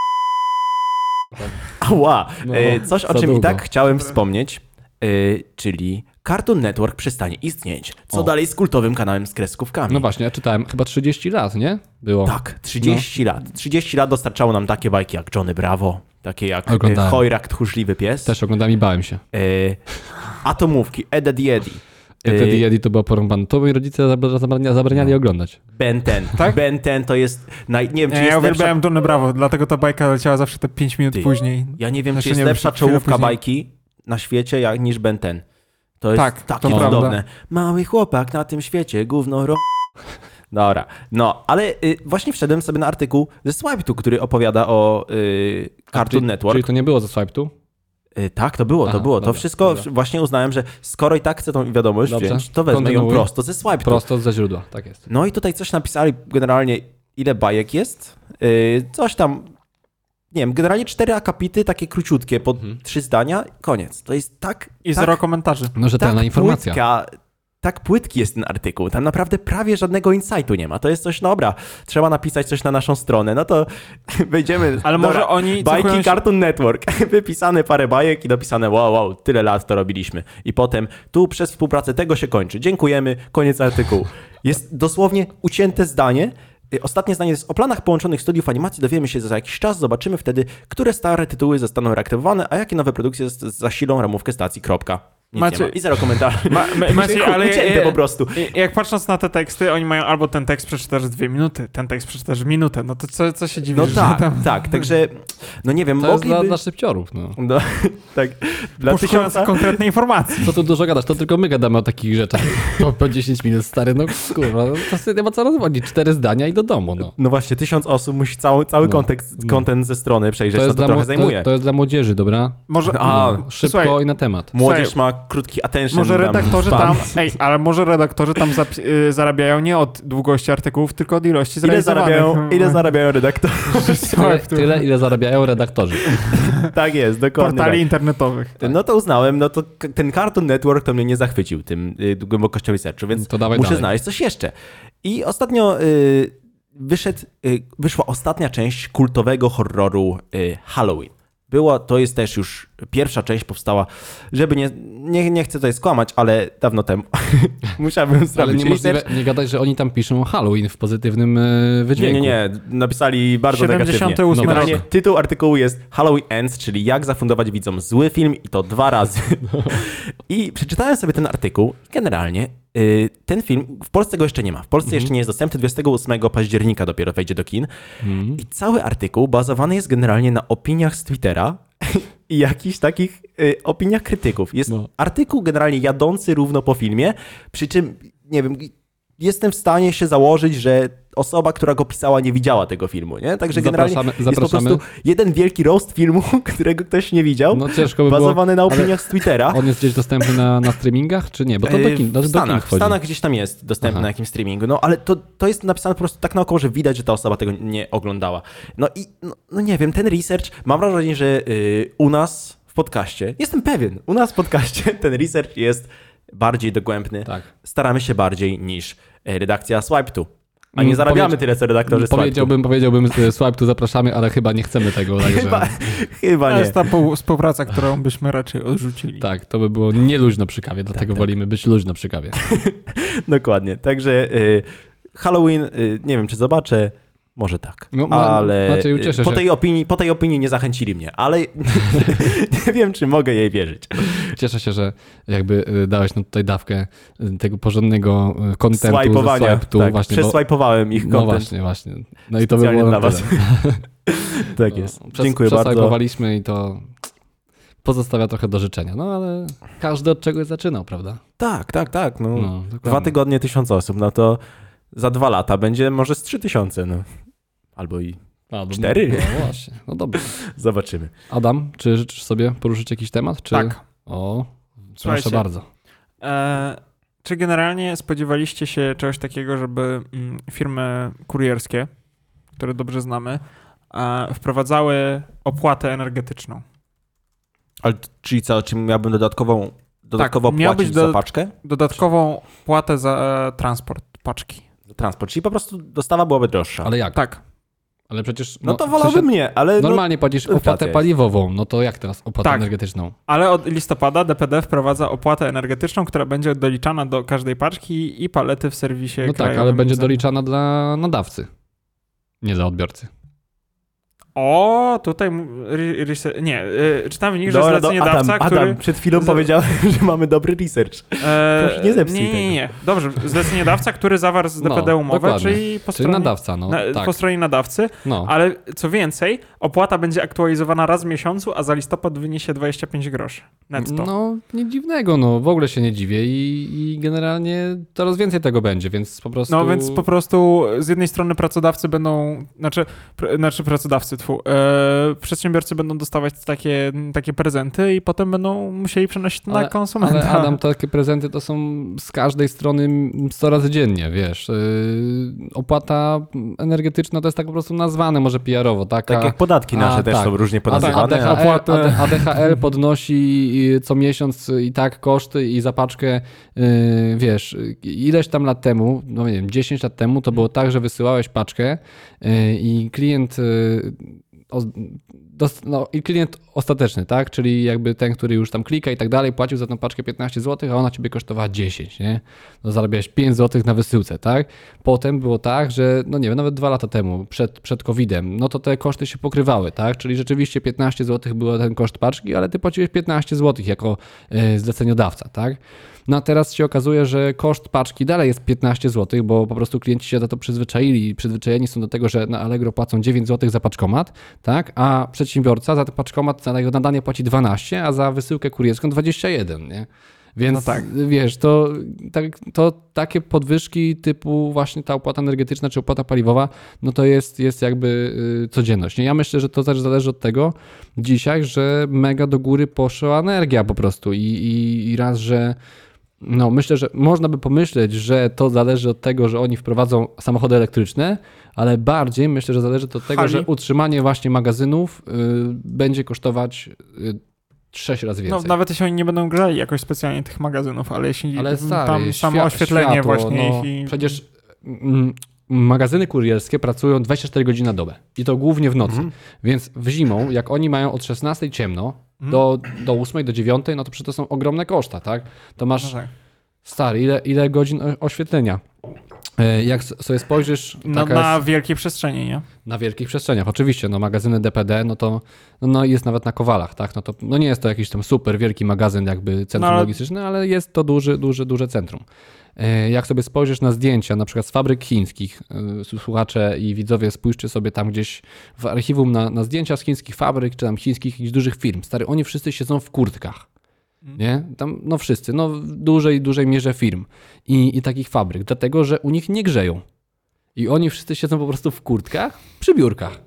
A: Ała,
C: No,
A: y, coś
C: za
A: o czym i
C: długo.
A: tak chciałem wspomnieć, y, czyli Cartoon Network przestanie istnieć. Co
C: O.
A: dalej z kultowym kanałem z kreskówkami?
C: No właśnie, ja czytałem chyba 30 lat, nie? Było.
A: Tak, 30 lat. 30 lat dostarczało nam takie bajki jak Johnny Bravo, takie jak e,
C: Oglądałem.
A: Hojrak, Tchórzliwy Pies,
C: Też oglądałem i bałem się.
A: e, Atomówki, Eda Diedi,
C: Ja wtedy Jedi to była porąbane. To moi rodzice zabra- zabrania- zabraniali oglądać.
A: Ben Ten. Ben Ten to jest, naj... nie wiem czy
B: Nie,
A: jest
B: ja
A: lepsza...
B: uwielbiałem Johnny Bravo, dlatego ta bajka leciała zawsze te 5 minut
A: Ty.
B: później.
A: Ja nie wiem
B: Znaczy,
A: czy jest
B: nie,
A: lepsza
B: chwilę
A: czołówka
B: później.
A: bajki na świecie jak, niż Ben Ten. To jest
B: Tak,
A: takie
B: to prawda.
A: cudowne. Mały chłopak na tym świecie, gówno ro... Dobra, no, ale y, właśnie wszedłem sobie na artykuł ze Swipetu, który opowiada o y, Cartoon
C: czyli,
A: Network.
C: Czyli to nie było ze Swiptu?
A: Y, Tak, to było,
C: Aha,
A: to było. to
C: dobra,
A: wszystko
C: dobra.
A: właśnie uznałem, że skoro i tak chcę tą wiadomość
C: Dobrze,
A: wziąć, to wezmę ją
C: kontynuuj.
A: prosto ze swipe.
C: Prosto ze źródła, tak jest.
A: No i tutaj coś napisali generalnie, ile bajek jest. y, coś tam, nie wiem, generalnie cztery akapity, takie króciutkie, po trzy zdania, koniec. To jest tak...
B: I
A: tak,
B: zero komentarzy.
C: No rzetelna
A: tak
C: informacja.
A: Płytka, tak płytki jest ten artykuł. Tam naprawdę prawie żadnego insightu nie ma. To jest coś, no dobra, trzeba napisać coś na naszą stronę. No to wejdziemy...
B: Ale
A: dobra,
B: może oni
A: Bajki
B: cechują się-
A: Cartoon Network. Wypisane parę bajek i dopisane wow, wow, tyle lat to robiliśmy. I potem tu przez współpracę tego się kończy. Dziękujemy, koniec artykułu. Jest dosłownie ucięte zdanie. Y, Ostatnie zdanie jest o planach połączonych studiów animacji dowiemy się za jakiś czas, zobaczymy wtedy, które stare tytuły zostaną reaktywowane, a jakie nowe produkcje z- zasilą ramówkę stacji. Kropka. Nic
B: Macie-
A: nie ma. I zero komentarzy.
B: Ma, ma, macie, ale
A: Ucięte po prostu.
B: I- Jak patrząc na te teksty, oni mają albo ten tekst przeczytasz dwie minuty, ten tekst przeczytasz minutę. No to co, co się dziwisz?
A: No
B: że
A: tak,
B: tam...
A: tak, także no nie wiem,
C: To jest dla,
A: mogliby...
C: dla szybciorów, no.
A: No, tak, dla
B: Poszukując
A: tysiąca...
B: konkretnej informacji.
C: Co tu dużo gadasz, to tylko my gadamy o takich rzeczach. Po, po 10 minut, stary, no kurwa, no, to sobie nie ma co rozwodzić. Cztery zdania i do domu, no.
A: No właśnie, tysiąc osób musi cały, cały
C: No,
A: kontekst,
C: no.
A: kontent ze strony przejrzeć, to, to
C: dla,
A: trochę
C: mo-
A: zajmuje.
C: to, to jest dla młodzieży, dobra?
B: Może,
A: A,
C: Szybko
B: Słuchaj,
C: i na temat.
A: Młodzież
B: Słuchaj,
A: ma krótki attention.
B: może
A: tam
B: redaktorzy
A: span.
B: tam. Ej, ale może redaktorzy tam zapi- y, zarabiają nie od długości artykułów, tylko od ilości
A: Ile
B: zrealizowanych.
A: zarabiają, ile zarabiają redaktorzy?
C: Tyle, tyle ile zarabiają redaktorzy.
A: tak jest, dokładnie.
B: portali
A: tak.
B: internetowych.
A: No to uznałem, no to k- ten Cartoon Network to mnie nie zachwycił tym y, głębokością sercu, więc
C: No To dawaj
A: muszę
C: dalej.
A: znaleźć coś jeszcze. I ostatnio y, wyszedł, y, wyszła ostatnia część kultowego horroru y, Halloween. Była, to jest też już pierwsza część powstała, żeby nie, nie, nie chcę tutaj skłamać, ale dawno temu musiałbym
C: Ale
A: zrobić
C: niemożliwe,
A: research.
C: nie gadać, że oni tam piszą Halloween w pozytywnym e,
A: Nie,
C: wydźwięku.
A: nie, nie, napisali bardzo negatywnie.
B: 78
C: No
B: rok.
A: Generalnie tytuł artykułu jest Halloween Ends, czyli jak zafundować widzom zły film i to dwa razy. I przeczytałem sobie ten artykuł. Generalnie y, ten film, w Polsce go jeszcze nie ma. W Polsce jeszcze nie jest dostępny, 28 października dopiero wejdzie do kin. I cały artykuł bazowany jest generalnie na opiniach z Twittera i jakichś takich y, opiniach krytyków. Jest
C: No.
A: artykuł generalnie jadący równo po filmie, przy czym, nie wiem... Jestem w stanie się założyć, że osoba, która go pisała, nie widziała tego filmu, nie? Tak Także generalnie
C: Zapraszamy-
A: jest po
C: zapraszamy.
A: prostu jeden wielki roast filmu, którego ktoś nie widział,
C: No ciężko by było,
A: bazowany na
C: ale-
A: opiniach z Twittera.
C: On jest gdzieś dostępny na, na streamingach, czy nie? Bo to do
A: Yy,
C: kin,
A: w,
C: do, do kin
A: Stanach, w
C: wchodzi.
A: Stanach gdzieś tam jest dostępny
C: Aha.
A: na jakimś streamingu, no ale to, to jest napisane po prostu tak naokoło, że widać, że ta osoba tego nie oglądała. No i no, no nie wiem, ten research, mam wrażenie, że yy, u nas w podcaście, jestem pewien, u nas w podcaście ten research jest bardziej dogłębny.
C: Tak.
A: Staramy się bardziej niż e, redakcja Swipe tu. A
C: Mm,
A: nie zarabiamy
C: powiedz-
A: tyle, co redaktorzy Swipe tu.
C: Powiedziałbym, powiedziałbym, że Swipe tu zapraszamy, ale chyba nie chcemy tego. Także,
A: Chyba,
B: To
A: chyba nie.
B: jest ta pół- współpraca, którą byśmy raczej odrzucili.
C: Tak, to by było nieluźno przy kawie,
A: Tak,
C: dlatego wolimy być luźno przy kawie.
A: Dokładnie. Także y, Halloween, y, nie wiem czy zobaczę, może tak.
C: No, ma-
A: ale
C: Macieju,
A: y,
C: cieszę
A: po,
C: się.
A: tej opinii, po tej opinii nie zachęcili mnie, ale nie wiem czy mogę jej wierzyć.
C: Cieszę się, że jakby y, dałeś nam tutaj dawkę y, tego porządnego y, kontentu ze
A: Swajpowania.
C: Swipe tu
A: tak,
C: właśnie. bo-
A: przeswajpowałem ich
C: No
A: content.
C: właśnie, właśnie. No i to by
A: Specjalnie
C: było
A: dla
C: na
A: was.
C: tyle.
A: Tak
C: No,
A: jest.
C: Przes-
A: Dziękuję bardzo.
C: przesłajpowaliśmy i to pozostawia trochę do życzenia. No ale każdy od czegoś zaczynał, prawda?
A: Tak, tak, tak. No.
C: No,
A: Dwa
C: dokładnie.
A: tygodnie tysiąc osób, no to za dwa lata będzie może z trzy tysiące, no. Albo i
C: A, bo-
A: cztery.
C: No właśnie, no dobrze.
A: zobaczymy.
C: Adam, czy życzysz sobie poruszyć jakiś temat? Czy...
B: Tak.
C: O,
B: Słuchajcie.
C: proszę bardzo.
B: E, czy generalnie spodziewaliście się czegoś takiego, żeby mm, firmy kurierskie, które dobrze znamy, e, wprowadzały opłatę energetyczną?
A: Ale czyli co, czy miałbym dodatkową, dodatkowo
C: Tak,
B: miał
A: płacić
B: być do-
A: za paczkę?
B: Dodatkową płatę za e, transport paczki.
A: Za transport, czyli po prostu dostawa byłaby droższa.
C: Ale jak?
B: Tak.
C: Ale przecież...
A: No to
C: przecież
A: wolałbym nie, ale no,
C: Normalnie płacisz
A: inflacja
C: opłatę
A: jest.
C: paliwową, no to jak teraz opłatę
B: Tak.
C: energetyczną?
B: Ale od listopada DPD wprowadza opłatę energetyczną, która będzie doliczana do każdej paczki i palety w serwisie
C: No tak,
B: krajowym.
C: ale będzie
B: Za-
C: doliczana dla nadawcy, nie dla odbiorcy.
B: O, tutaj... m- Ry, ryse- nie, y, czytam w nich, że
A: Dobra, do-
B: zleceniodawca,
A: Adam,
B: który...
A: Adam, przed chwilą
B: za-
A: powiedziałem, że mamy dobry research.
B: E,
A: Proszę, nie zepsuj
B: nie, nie, nie. Dobrze, zleceniodawca, który zawarł z
C: No,
B: DPD umowę,
C: dokładnie.
B: czyli po
C: Czyli
B: stronie,
C: nadawca, no
B: na,
C: tak.
B: po stronie nadawcy,
C: No,
B: ale co więcej, opłata będzie aktualizowana raz w miesiącu, a za listopad wyniesie 25 groszy netto.
C: no nic dziwnego, no w ogóle się nie dziwię i, i generalnie coraz więcej tego będzie, więc po prostu...
B: No więc po prostu z jednej strony pracodawcy będą, znaczy, pr, znaczy pracodawcy, tfu, e, przedsiębiorcy będą dostawać takie, takie prezenty i potem będą musieli przenosić to na
C: Ale-
B: konsumenta.
C: Ale Adam, takie prezenty to są z każdej strony m, 100 razy dziennie, wiesz. Yy, opłata energetyczna to jest tak po prostu nazwane może PR-owo, taka...
A: Tak jak podatki
C: A,
A: nasze też
C: tak.
A: są różnie
C: A tak,
A: podawane.
C: ADHL,
A: a-
B: opłatę.
C: AD- ADHL podnosi y, co miesiąc y, i tak koszty i zapaczkę, y, wiesz, y, ileś tam lat temu, no nie wiem, 10 lat temu to było tak, że wysyłałeś paczkę y, i klient y, o- dos- no, i klient ostateczny, tak? Czyli jakby ten, który już tam klika i tak dalej, płacił za tą paczkę 15 zł, a ona ciebie kosztowała 10, nie? No zarabiałeś 5 zł na wysyłce, tak? Potem było tak, że no nie wiem, nawet dwa lata temu, przed, przed COVID-em, no to te koszty się pokrywały, tak? Czyli rzeczywiście 15 zł było ten koszt paczki, ale ty płaciłeś 15 zł jako e, zleceniodawca, tak? No a teraz się okazuje, że koszt paczki dalej jest 15 zł, bo po prostu klienci się do to przyzwyczaili, przyzwyczajeni są do tego, że na Allegro płacą 9 zł za paczkomat, tak? A przedsiębiorca za ten paczkomat na jego nadanie płaci 12, a za wysyłkę kurierską 21, nie? Więc
B: No tak.
C: wiesz, to, tak, to takie podwyżki typu właśnie ta opłata energetyczna czy opłata paliwowa, no to jest, jest jakby y, codzienność. Nie? Ja myślę, że to też zależy od tego dzisiaj, że mega do góry poszła energia po prostu i, i, i raz, że no myślę, że można by pomyśleć, że to zależy od tego, że oni wprowadzą samochody elektryczne, ale bardziej myślę, że zależy to od tego,
B: Hali.
C: że utrzymanie właśnie magazynów y, będzie kosztować y, sześć razy
B: No,
C: więcej.
B: nawet jeśli oni nie będą grzali jakoś specjalnie tych magazynów, ale jeśli
C: Ale
B: m,
C: stary,
B: tam
C: świat-
B: samo oświetlenie
C: światło,
B: właśnie
C: no,
B: ich i...
C: Przecież mm, magazyny kurierskie pracują 24 godziny na dobę i to głównie w nocy.
B: Mhm.
C: Więc w zimą, jak oni mają od 16 ciemno
B: Mhm.
C: do, do 8, do 9, no to przecież to są ogromne koszta, tak? To masz,
B: No tak.
C: stary, ile, ile godzin o- oświetlenia? E, Jak s- sobie spojrzysz
B: No,
C: taka
B: na
C: jest,
B: wielkiej przestrzeni, nie?
C: na wielkich przestrzeniach, oczywiście, no magazyny DPD, no to no, jest nawet na Kowalach, tak? No to no nie jest to jakiś tam super wielki magazyn, jakby centrum
B: No, ale-
C: logistyczne, ale jest to duży, duży, duże centrum. E, Jak sobie spojrzysz na zdjęcia, na przykład z fabryk chińskich, e, słuchacze i widzowie, spójrzcie sobie tam gdzieś w archiwum na, na zdjęcia z chińskich fabryk, czy tam chińskich jakichś dużych firm. Stary, oni wszyscy siedzą w kurtkach.
B: Mm.
C: Nie? Tam, no wszyscy, no w dużej, dużej mierze firm i, i takich fabryk, dlatego że u nich nie grzeją. I oni wszyscy siedzą po prostu w kurtkach przy biurkach.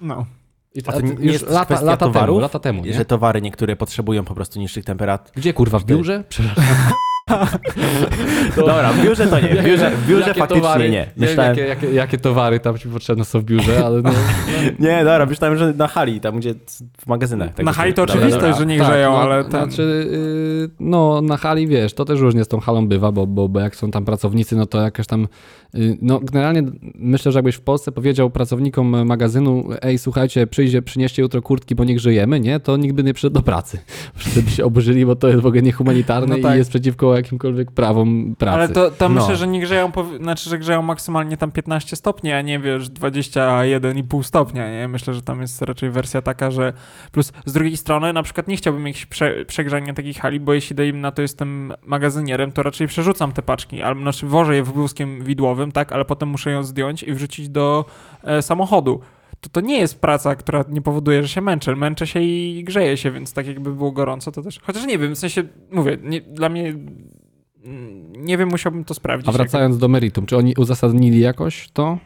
B: No.
C: I
A: A to nie
C: już
A: jest
C: lata,
A: kwestia
C: lata temu,
A: towarów?
C: lata temu, nie?
A: Że towary niektóre potrzebują po prostu niższych temperat.
C: Gdzie kurwa, w biurze? Przepraszam.
A: Dobra, w biurze to nie. W biurze, w biurze faktycznie nie. Myślałem,
C: Myślałem... Jakie, jakie, jakie towary tam ci potrzebne są w biurze, ale no...
A: Nie, dobra, myślałem, że na hali, tam gdzie w magazynach. tak
B: Na
A: jest.
B: hali to
A: Dobra,
B: oczywiste,
A: dobra.
B: że nie grzeją,
C: no,
B: ale ten...
C: Znaczy, y, no na hali wiesz, to też różnie z tą halą bywa, bo, bo, bo jak są tam pracownicy, no to jakaś tam, y, no generalnie myślę, że jakbyś w Polsce powiedział pracownikom magazynu, ej słuchajcie, przyjdzie, przynieście jutro kurtki, bo nie grzejemy, nie, to nikt by nie przyszedł do pracy. Wszyscy by się oburzyli, bo to jest w ogóle niehumanitarne
B: No tak.
C: i jest przeciwko jakimkolwiek prawom pracy.
B: Ale to, to
A: No.
B: myślę, że nie grzeją, powi- znaczy, że grzeją maksymalnie tam 15 stopni, a nie wiesz, 21,5 stopnia, nie? Myślę, że tam jest raczej wersja taka, że plus z drugiej strony na przykład nie chciałbym jakichś prze, przegrzania takich hali, bo jeśli daję im na to jestem magazynierem, to raczej przerzucam te paczki, albo znaczy wożę je wózkiem widłowym, tak, ale potem muszę ją zdjąć i wrzucić do e, samochodu. To, to nie jest praca, która nie powoduje, że się męczę. Męczę się i grzeję się, więc tak jakby było gorąco, to też. Chociaż nie wiem, w sensie mówię, nie, dla mnie. mm, Nie wiem, musiałbym to sprawdzić.
C: A wracając do meritum, czy oni uzasadnili jakoś to?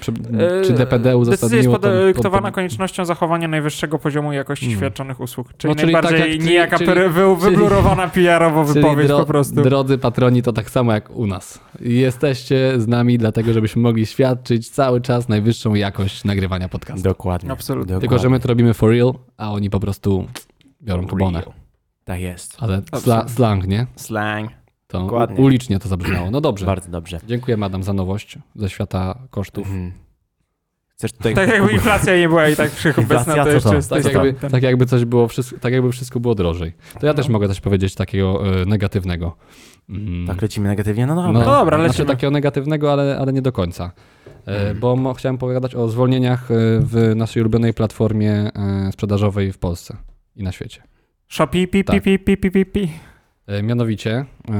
C: Czy,
B: Jak-
C: czy
B: E,
C: DPD
B: Decyzja jest e,
C: uzasadniło to-
B: podyktowana
C: to-
B: koniecznością zachowania najwyższego poziomu jakości świadczonych usług. Czyli
C: Hmm. No, czyli
B: najbardziej
C: tak jak- czyli-
B: niejaka
C: czyli-
B: pery- wy,
C: czyli-
B: wyblurowana PR-owo
C: Czyli
B: wypowiedź
C: dro-
B: po prostu.
C: Drodzy patroni, to tak samo jak u nas. Jesteście z nami dlatego, żebyśmy mogli świadczyć cały czas najwyższą jakość nagrywania podcastu.
A: Dokładnie.
B: Absolutnie.
A: Dokładnie.
C: Tylko, że my to robimy for real, a oni po prostu biorą kubonę.
A: Real. Tak jest.
C: Ale sla,
B: Absolutnie.
C: slang, nie?
A: Slang.
C: To
A: Dokładnie.
C: u- ulicznie to zabrzmiało. No dobrze.
A: Bardzo dobrze.
C: Dziękuję, Adam, za nowość ze świata kosztów.
A: Mhm. Chcesz tutaj...
B: Tak jakby inflacja nie była i tak wszechobecna,
A: Inflacja,
B: to
A: co
B: jeszcze
A: to?
B: jest
C: Tak
A: Co
C: jakby, tak jakby coś było, wszystko, tak jakby wszystko było drożej. To ja
A: No.
C: też mogę coś powiedzieć takiego e, negatywnego. Mm.
A: Tak lecimy negatywnie? No dobra.
C: No,
B: No dobra,
C: znaczy
B: lecimy.
C: takiego negatywnego, ale, ale nie do końca. E, Bo mo, chciałem pogadać o zwolnieniach e, w naszej ulubionej platformie e, sprzedażowej w Polsce i na świecie.
B: Shopi, pi, pi,
C: Tak.
B: pi, pi, pi, pi, pi.
C: E, Mianowicie e,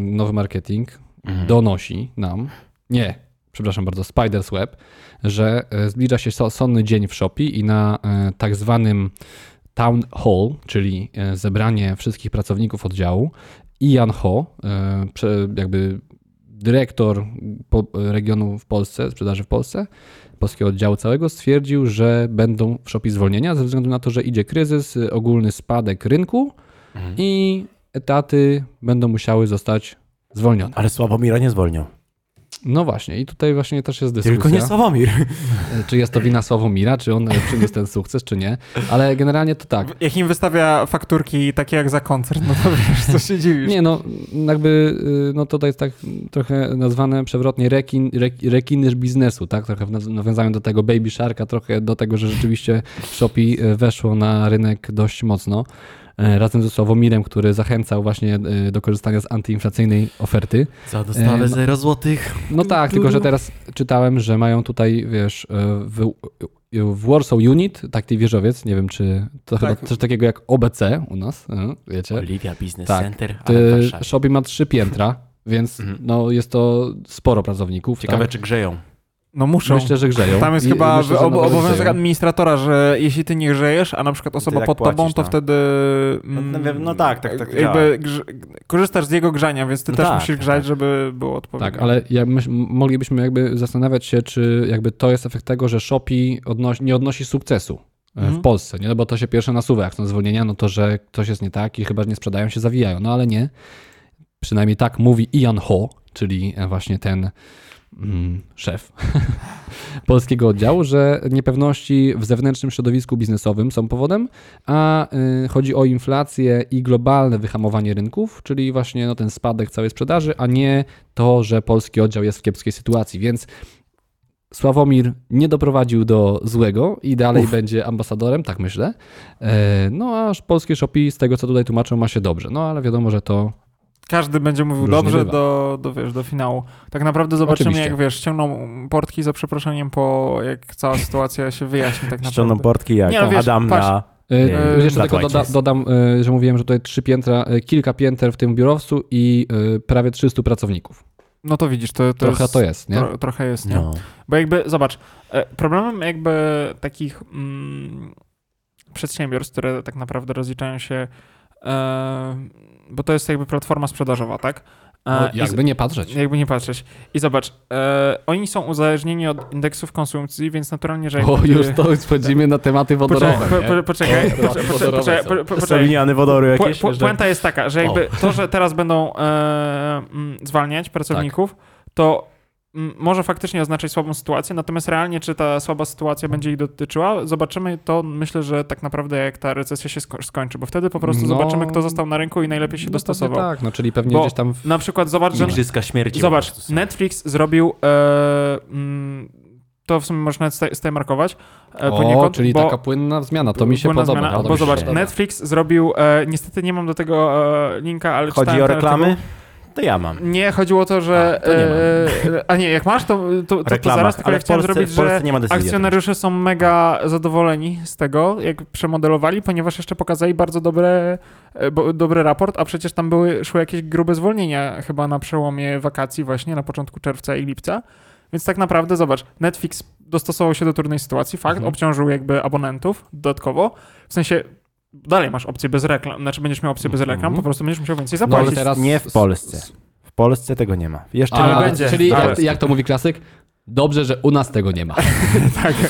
C: nowy marketing
A: Mhm.
C: donosi nam, nie, przepraszam bardzo, Spider's Web, że e, zbliża się so- sonny dzień w Shopee i na e, tak zwanym town hall, czyli e, zebranie wszystkich pracowników oddziału, Ian Ho, e, prze- jakby dyrektor po- regionu w Polsce, sprzedaży w Polsce, polskiego oddziału całego, stwierdził, że będą w Shopee zwolnienia ze względu na to, że idzie kryzys, e, ogólny spadek rynku i etaty będą musiały zostać zwolnione.
A: Ale Sławomira nie zwolnią.
C: No właśnie, i tutaj właśnie też jest dyskusja.
A: Tylko nie Sławomir.
C: E, Czy jest to wina Sławomira, czy on e, przyniósł ten sukces, czy nie. Ale generalnie to tak.
B: Jak im wystawia fakturki takie jak za koncert, no to wiesz, co się dziwisz.
C: Nie no, jakby y, no to jest tak trochę nazwane przewrotnie rekin, rek, rekiny biznesu, tak? Trochę w naz- nawiązaniu do tego Baby Sharka, trochę do tego, że rzeczywiście Shopee e, weszło na rynek dość mocno. e, Razem ze Sławomirem, który zachęcał właśnie e, do korzystania z antyinflacyjnej oferty.
A: Za
C: dostawę
A: dostawę 0 złotych.
C: No tak, tylko że teraz czytałem, że mają tutaj, wiesz, e, w, w Warsaw Unit, taki wieżowiec, nie wiem czy to
B: Tak.
C: chyba coś takiego jak OBC u nas, e, wiecie.
A: Oliwia Business
C: Tak.
A: Center, ale w
C: Ty,
A: Warszawie.
C: Shopee ma trzy piętra, więc
B: Mhm.
C: no, jest to sporo pracowników.
A: Ciekawe,
C: tak?
A: czy grzeją.
B: No muszą.
C: Myślę, że grzeją.
B: Tam jest
C: I-
B: chyba
C: myślę, że
B: ob-
C: nawet
B: obowiązek
C: grzeją.
B: administratora, że jeśli ty nie grzejesz, a na przykład osoba
A: tak
B: pod tobą,
A: płacisz,
B: to
A: no.
B: wtedy. mm,
A: No, no tak, tak, tak
B: Jakby grze, korzystasz z jego grzania, więc ty
A: No
B: też
A: tak,
B: musisz
A: tak,
B: grzać,
A: tak.
B: żeby było odpowiednio.
C: Tak, ale ja myśl, m- moglibyśmy jakby zastanawiać się, czy jakby to jest efekt tego, że Shopee odnoś, nie odnosi sukcesu e, w
B: Mhm.
C: Polsce, nie? No bo to się pierwsze nasuwa, jak są zwolnienia, no to, że ktoś jest nie tak i chyba nie sprzedają się, zawijają. No ale nie. Przynajmniej tak mówi Ian Ho, czyli e, właśnie ten mm, szef polskiego oddziału, że niepewności w zewnętrznym środowisku biznesowym są powodem, a y, chodzi o inflację i globalne wyhamowanie rynków, czyli właśnie no, ten spadek całej sprzedaży, a nie to, że polski oddział jest w kiepskiej sytuacji, więc Sławomir nie doprowadził do złego i dalej będzie ambasadorem, tak myślę. E, no aż polskie Shopee z tego, co tutaj tłumaczą, ma się dobrze. No ale wiadomo, że to
B: Każdy będzie mówił
C: Różnie
B: dobrze
C: bywa.
B: do, do, wiesz, do finału. Tak naprawdę zobaczymy,
C: Oczywiście.
B: jak wiesz, ściągną portki za przeproszeniem, po jak cała sytuacja się wyjaśni tak
A: Ściągną
B: naprawdę.
A: portki jak
B: Nie, no wiesz,
A: Adam
B: patrz.
A: na...
C: E,
A: Nie,
C: Jeszcze
A: dla
C: tylko doda,
A: Twice.
C: dodam, e, że mówiłem, że tutaj trzy piętra, e, kilka pięter w tym biurowcu i e, prawie 300 pracowników.
B: No to widzisz, to, to
C: Trochę
B: jest,
C: to jest, nie?
B: Tro, trochę jest, nie?
A: No.
B: Bo jakby, zobacz, e, problemem jakby takich mm, przedsiębiorstw, które tak naprawdę rozliczają się, e, bo to jest jakby platforma sprzedażowa, tak?
C: No,
B: A, i z-
C: jakby nie patrzeć.
B: Jakby nie patrzeć. I zobacz, e, oni są uzależnieni od indeksów konsumpcji, więc naturalnie, że...
C: O,
B: jakby-
C: już to wchodzimy na tematy
B: Poczekaj,
C: wodorowe.
B: po,
C: nie?
B: po, poczekaj,
C: O,
B: poczekaj,
C: wodorowe
B: poczekaj,
C: są.
B: po- po-
A: Są
B: poczekaj.
A: liniany wodoru
B: Pu-
A: jakieś?
B: pu-
A: że-
B: Puenta jest taka, że jakby to, że teraz będą e, mm, zwalniać pracowników, to mm, może faktycznie oznaczać słabą sytuację, natomiast realnie, czy ta słaba sytuacja będzie ich dotyczyła, zobaczymy to myślę, że tak naprawdę jak ta recesja się sko- skończy, bo wtedy po prostu
C: No.
B: zobaczymy, kto został na rynku i najlepiej się
C: No,
B: dostosował.
C: pewnie Tak, no czyli pewnie
B: Bo
C: gdzieś tam w
B: Na przykład zobacz, że
A: Igrzyska śmierci. po
B: Zobacz,
A: prostu są.
B: Netflix zrobił. E, mm, to w sumie można sta- stemarkować. E,
C: O,
B: poniekąd,
C: czyli
B: bo-
C: taka płynna zmiana, to mi się
B: płynna
C: podoba.
B: zmiana,
C: podoba
B: bo
C: mi się.
B: zobacz,
C: Dobra.
B: Netflix zrobił. E, niestety nie mam do tego e, linka, ale
A: Chodzi
B: czytałem
A: o
B: ten
A: reklamy?
B: artykuł.
A: To ja mam.
B: Nie, chodziło o to, że.
A: A, to nie
B: e, a nie, jak masz, to, to, to, to
A: Reklamach,
B: zaraz, tylko
A: ale
B: ja
A: w
B: chciałem
A: Polsce-
B: zrobić,
A: w Polsce
B: że
A: nie ma decyzji o tym.
B: akcjonariusze są mega zadowoleni z tego, jak przemodelowali, ponieważ jeszcze pokazali bardzo dobre, e, bo, dobry raport, a przecież tam były, szły jakieś grube zwolnienia chyba na przełomie wakacji właśnie, na początku czerwca i lipca. Więc tak naprawdę, zobacz, Netflix dostosował się do trudnej sytuacji, fakt,
C: Mhm.
B: obciążył jakby abonentów dodatkowo, w sensie dalej masz opcję bez reklam, znaczy będziesz miał opcję bez
A: Mhm.
B: reklam, po prostu będziesz musiał więcej
C: No,
B: zapłacić.
C: ale teraz
A: Nie w Polsce. W Polsce tego nie ma. Jeszcze
C: A,
B: Ale będzie.
C: Czyli jak,
B: Dobra.
C: jak to mówi klasyk? Dobrze, że u nas tego nie ma.
A: tak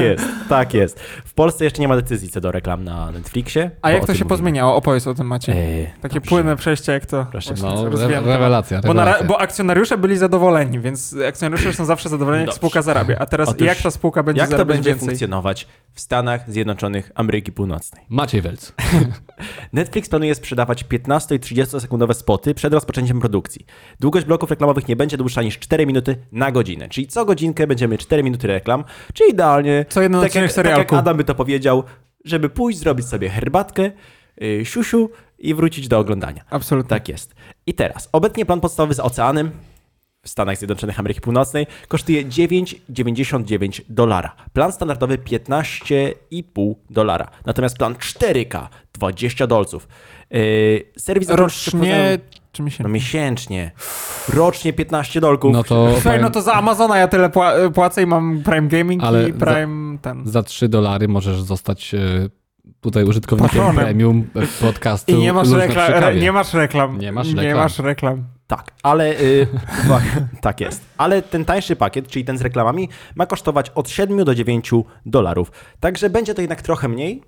A: jest, tak jest. W Polsce jeszcze nie ma decyzji co do reklam na Netflixie.
B: A
A: bo
B: jak
A: o
B: to
A: tym
B: się
A: mówimy.
B: pozmieniało? Opowiedz o tym Macie.
A: Eee,
B: Takie
A: dobrze.
B: płynne przejście, jak to.
A: Proszę,
B: właśnie
C: No, re,
B: rozwijam temat.
C: rewelacja,
B: Bo, na, ra-
C: rewelacja.
B: bo akcjonariusze byli zadowoleni, więc akcjonariusze są zawsze zadowoleni, jak
A: Dobrze.
B: spółka zarabia. A teraz
A: Otóż,
B: jak ta spółka będzie
A: Jak to
B: zarabiać
A: będzie
B: więcej?
A: funkcjonować w Stanach Zjednoczonych Ameryki Północnej?
C: Maciej Welc.
A: Netflix planuje sprzedawać 15 i 30 sekundowe spoty przed rozpoczęciem produkcji. Długość bloków reklamowych nie będzie dłuższa niż 4 minuty na godzinę, czyli co godzinkę będziemy 4 minuty reklam, czyli idealnie
B: Co jeden
A: tak
B: odcinek
A: jak, tak
B: serialku.
A: jak Adam by to powiedział, żeby pójść, zrobić sobie herbatkę, yy, siusiu i wrócić do oglądania.
B: Absolutnie.
A: Tak jest. I teraz, obecnie plan podstawowy z oceanem w Stanach Zjednoczonych Ameryki Północnej kosztuje 9,99 dolara. Plan standardowy 15,5 dolara. Natomiast plan 4K 20 dolców. Yy, serwis
B: Rocznie czy
A: No
B: miesięcznie?
A: miesięcznie. Rocznie 15 dolków.
C: No to
B: Słuchaj,
C: powiem,
B: no to za Amazona ja tyle pła- płacę i mam Prime Gaming
C: Ale
B: i Prime ten.
C: za 3 dolary możesz zostać e, tutaj użytkownikiem
B: Patronem.
C: premium e, podcastu.
B: I nie masz,
C: Luźno
B: rekla-
C: przy
B: re-
C: kawie.
B: nie masz reklam.
C: Nie masz reklam.
B: masz reklam.
A: Tak, ale y, uwaga, tak jest. Ale ten tańszy pakiet, czyli ten z reklamami, ma kosztować od 7 do 9 dolarów. Także będzie to jednak trochę mniej,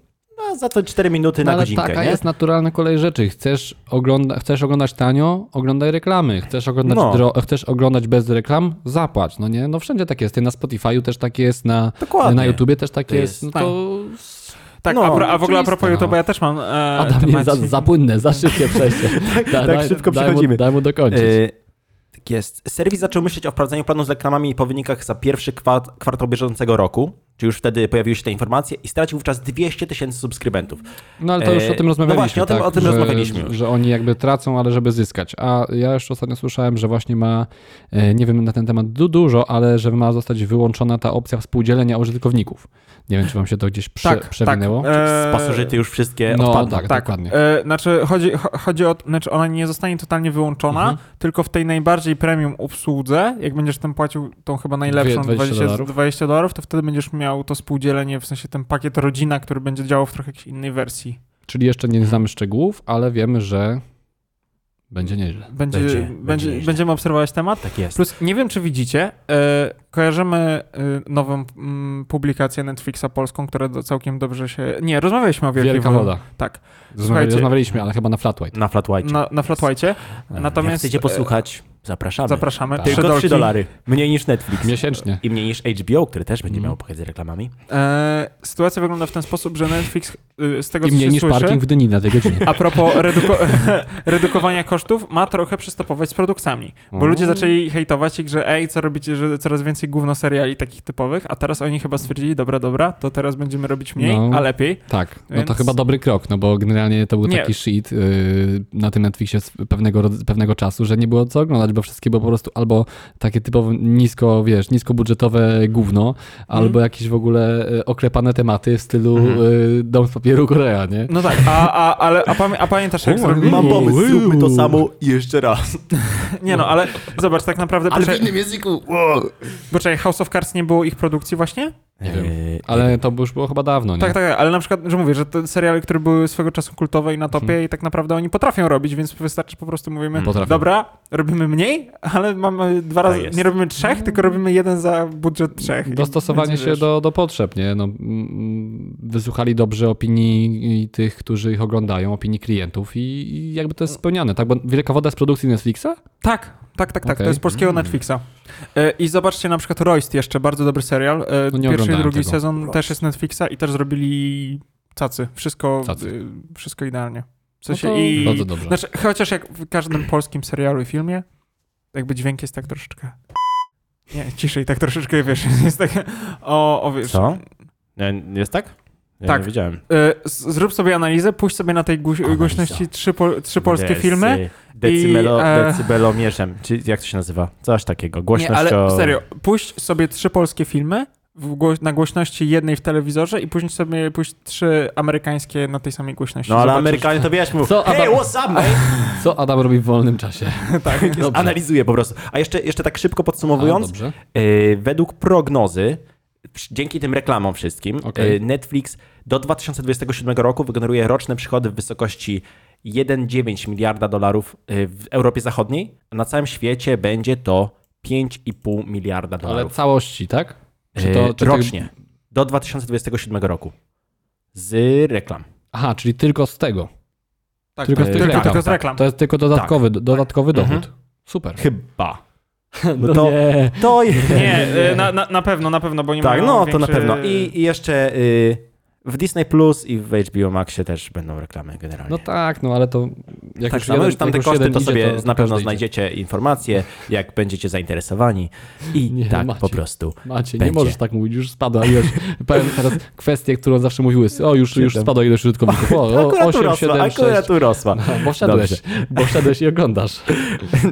A: no za to 4 minuty
C: No
A: na
C: ale
A: godzinkę.
C: taka
A: nie?
C: jest naturalna kolej rzeczy. Chcesz, ogląda, chcesz oglądać tanio, oglądaj reklamy. Chcesz oglądać,
A: No.
C: dro, chcesz oglądać bez reklam, zapłać. No nie, no wszędzie tak jest. Ty na Spotify'u też tak jest, na,
A: Dokładnie.
C: na YouTubie też tak
A: To
C: jest.
A: jest-
C: No to
B: Tak,
A: No,
B: a, pro- a w ogóle a
C: oczywiste,
B: propos
C: no.
B: YouTube'a ja też mam. E,
C: Adam jest za,
B: temacik.
C: za płynne, za szybkie przejście. tak,
A: szybko
C: daj Mu,
A: przechodzimy.
C: daj mu dokończyć.
A: Y, Tak jest. Serwis zaczął myśleć o wprowadzeniu planu z reklamami po wynikach za pierwszy kwart, kwartał bieżącego roku, czy już wtedy pojawiły się te informacje i stracił wówczas 200 tysięcy subskrybentów.
C: No ale to już
A: e,
C: o tym
A: no
C: rozmawialiśmy.
A: właśnie, o tym-
C: tak,
A: o tym
C: że,
A: rozmawialiśmy już.
C: Że oni jakby tracą, ale żeby zyskać. A ja jeszcze ostatnio słyszałem, że właśnie ma, e, nie wiem na ten temat du- dużo, ale że ma zostać wyłączona ta opcja współdzielenia użytkowników. Nie wiem, czy wam się to gdzieś prze,
A: Tak,
C: przewinęło.
B: Tak, E,
A: Z pasożyty już wszystkie
C: no
A: odpadną.
C: tak, dokładnie.
B: E, znaczy, chodzi, cho- chodzi o. Znaczy, ona nie zostanie totalnie wyłączona, tylko w tej najbardziej premium obsłudze, jak będziesz tam płacił tą chyba najlepszą
C: Dwie- 20
B: 20,
C: dolarów.
B: 20 dolarów, to wtedy będziesz miał to spółdzielenie, w sensie ten pakiet rodzina, który będzie działał w trochę jakiejś innej wersji.
C: Czyli jeszcze nie znamy szczegółów, ale wiemy, że będzie nieźle.
B: Będzie,
A: Będzie,
B: będzie,
A: będzie nieźle.
B: będziemy obserwować temat.
A: Tak jest.
B: Plus, nie wiem, czy widzicie, e, kojarzymy e, nową mm, publikację Netflixa polską, która do, całkiem dobrze się. Nie, rozmawialiśmy o Wielkiej
C: Wielka
B: Woli-
C: woda.
B: Tak.
C: Rozmawiali,
B: Słuchajcie-
C: rozmawialiśmy, ale chyba na flat white.
A: Na flatwajcie.
B: Na, na Flatwajcie.
A: Jak
B: Natomiast.
A: chcecie
B: e,
A: posłuchać, zapraszamy.
B: Zapraszamy.
C: Tak.
B: Trzy
A: Tylko 3
B: dolki.
A: dolary. Mniej niż Netflix.
C: Miesięcznie.
A: I mniej niż HBO, który też będzie
C: Mm.
A: miał pakiet z reklamami.
B: E, sytuacja wygląda w ten sposób, że Netflix y, z tego
C: I
B: co
C: mniej
B: się
C: niż
B: słyszy,
C: parking w Dyni na tej godzinie.
B: a propos reduko redukowania kosztów, ma trochę przystopować z produkcjami. Bo
C: Mm.
B: ludzie zaczęli hejtować ich, że ej, co robicie, że coraz więcej gówno seriali takich typowych, a teraz oni chyba stwierdzili, dobra, dobra, to teraz będziemy robić mniej,
C: No.
B: a lepiej.
C: Tak, no to
B: Więc-
C: chyba dobry krok, no bo generalnie to był
B: Nie.
C: taki shit yy, na tym Netflixie z pewnego, rodz- pewnego czasu, że nie było co oglądać, bo wszystkie było po prostu albo takie typowo nisko, wiesz, niskobudżetowe gówno,
B: Mhm.
C: albo jakieś w ogóle y, oklepane tematy w stylu y, Dom z papieru Korea, nie?
B: No tak, a, a, ale, a, pamię a pamiętasz jak zrobili?
A: Tak Mam pomysł,
C: Uuu.
A: zróbmy to samo jeszcze raz.
B: Nie no, ale zobacz, tak naprawdę... poczekaj-
C: języku!
B: Poczekaj, House of Cards nie było ich produkcji właśnie?
C: Nie
A: E,
C: wiem.
A: nie
C: Ale to już było chyba dawno, No nie?
B: Tak, tak, ale na przykład, że mówię, że te seriale, które były swego czasu kultowe i na topie i tak naprawdę oni potrafią robić, więc wystarczy po prostu mówimy,
A: Mm.
C: Mhm. Potrafią.
B: dobra, robimy mniej, ale mamy dwa
A: Tak
B: razy,
A: jest.
B: nie robimy trzech, tylko robimy jeden za budżet trzech. I-
C: Mhm. Dostosowanie
B: więc
C: się
B: wiesz.
C: do, do potrzeb, nie? No, mm, wysłuchali dobrze opinii i tych, którzy ich oglądają, opinii klientów i, i jakby
B: No.
C: to jest spełniane, tak? Bo Wielka Woda z produkcji Netflixa?
B: Tak, tak, tak, tak,
C: Okej. Mhm.
B: to jest polskiego Netflixa. E, I zobaczcie na przykład Royst jeszcze, bardzo dobry serial. E,
C: No
B: Pierwszy
C: nie
B: i
C: oglądałem
B: drugi
C: tego.
B: sezon
A: Royst.
B: też jest Netflixa i też zrobili cacy, wszystko,
C: Cacy.
B: e, wszystko idealnie. W
C: No
B: sensie
C: to
B: i...
C: Bardzo dobrze.
B: Znaczy, chociaż jak w każdym polskim serialu i filmie, jakby dźwięk jest tak troszeczkę. Nie, ciszej, tak troszeczkę wiesz. Jest tak. O, o wiesz. Y,
A: Co? Nie, Jest tak? Ja
B: Tak.
A: Nie wiedziałem.
B: Y, z- zrób sobie analizę, puść sobie na tej guś-
A: Analiza. y,
B: głośności trzy, po, trzy polskie
A: Decy-
B: filmy.
A: Decymelo,
B: i, e,
A: Decybelomierzem. Czy jak to się nazywa? Coś takiego.
B: Nie,
A: Głośnością...
B: ale serio, puść sobie trzy polskie filmy w gło- na głośności jednej w telewizorze i później sobie puść trzy amerykańskie na tej samej głośności.
A: No ale
B: Zobaczysz.
A: Amerykanie to wiesz, mów.
C: Co,
A: hey,
C: Adam-
A: what's up, mate?
C: Co Adam robi w wolnym czasie? tak, dobrze.
A: Analizuję po prostu. A jeszcze, jeszcze tak szybko
C: A,
A: podsumowując,
C: dobrze.
A: Yy, według prognozy, przy- dzięki tym reklamom wszystkim,
C: Okej.
A: yy, Netflix do 2027 roku wygeneruje roczne przychody w wysokości 1,9 miliarda dolarów yy, w Europie Zachodniej, a na całym świecie będzie to 5,5 miliarda
C: Ale
A: dolarów
C: całości, tak? Czy
A: Yy,
C: to, czy
A: rocznie
C: Ty...
A: do 2027 roku z reklam.
C: Aha, czyli tylko z tego.
B: Tak,
C: Tylko
B: tylko,
C: z
A: e,
C: tych
B: tylko,
C: reklam.
B: tylko z reklam.
C: To jest tylko dodatkowy, dodatkowy
A: Mhm.
C: dochód. Super.
A: Chyba.
C: No
A: to-
C: nie.
A: To jest.
B: Nie, y, na, na, na pewno, na pewno, bo nie
A: Tak,
B: mają
A: no to
B: większy...
A: na pewno. I, i jeszcze y, w Disney Plus i w HBO Maxie też będą reklamy generalnie.
C: No tak, no ale to... Jak
A: Tak,
C: już
A: no
C: jeden-
A: już tam
C: jak
A: te
C: już
A: koszty
C: jeden
A: to
C: idzie,
A: sobie na
C: każdy
A: pewno
C: idzie.
A: znajdziecie informacje, jak będziecie zainteresowani. I
C: Nie,
A: tak
C: Maciek.
A: po prostu.
C: Macie, nie
A: Będzie.
C: możesz tak mówić, już spadła ilość. Powiem teraz kwestię, którą zawsze mówiły. O, już, już
A: Siedem.
C: spadła ilość użytkowników. O, o,
A: Akurat
C: 8,
A: urosła,
C: 7, 6.
A: akurat urosła.
C: No, bo wszedłeś,
A: Dobrze.
C: bo wszedłeś i oglądasz.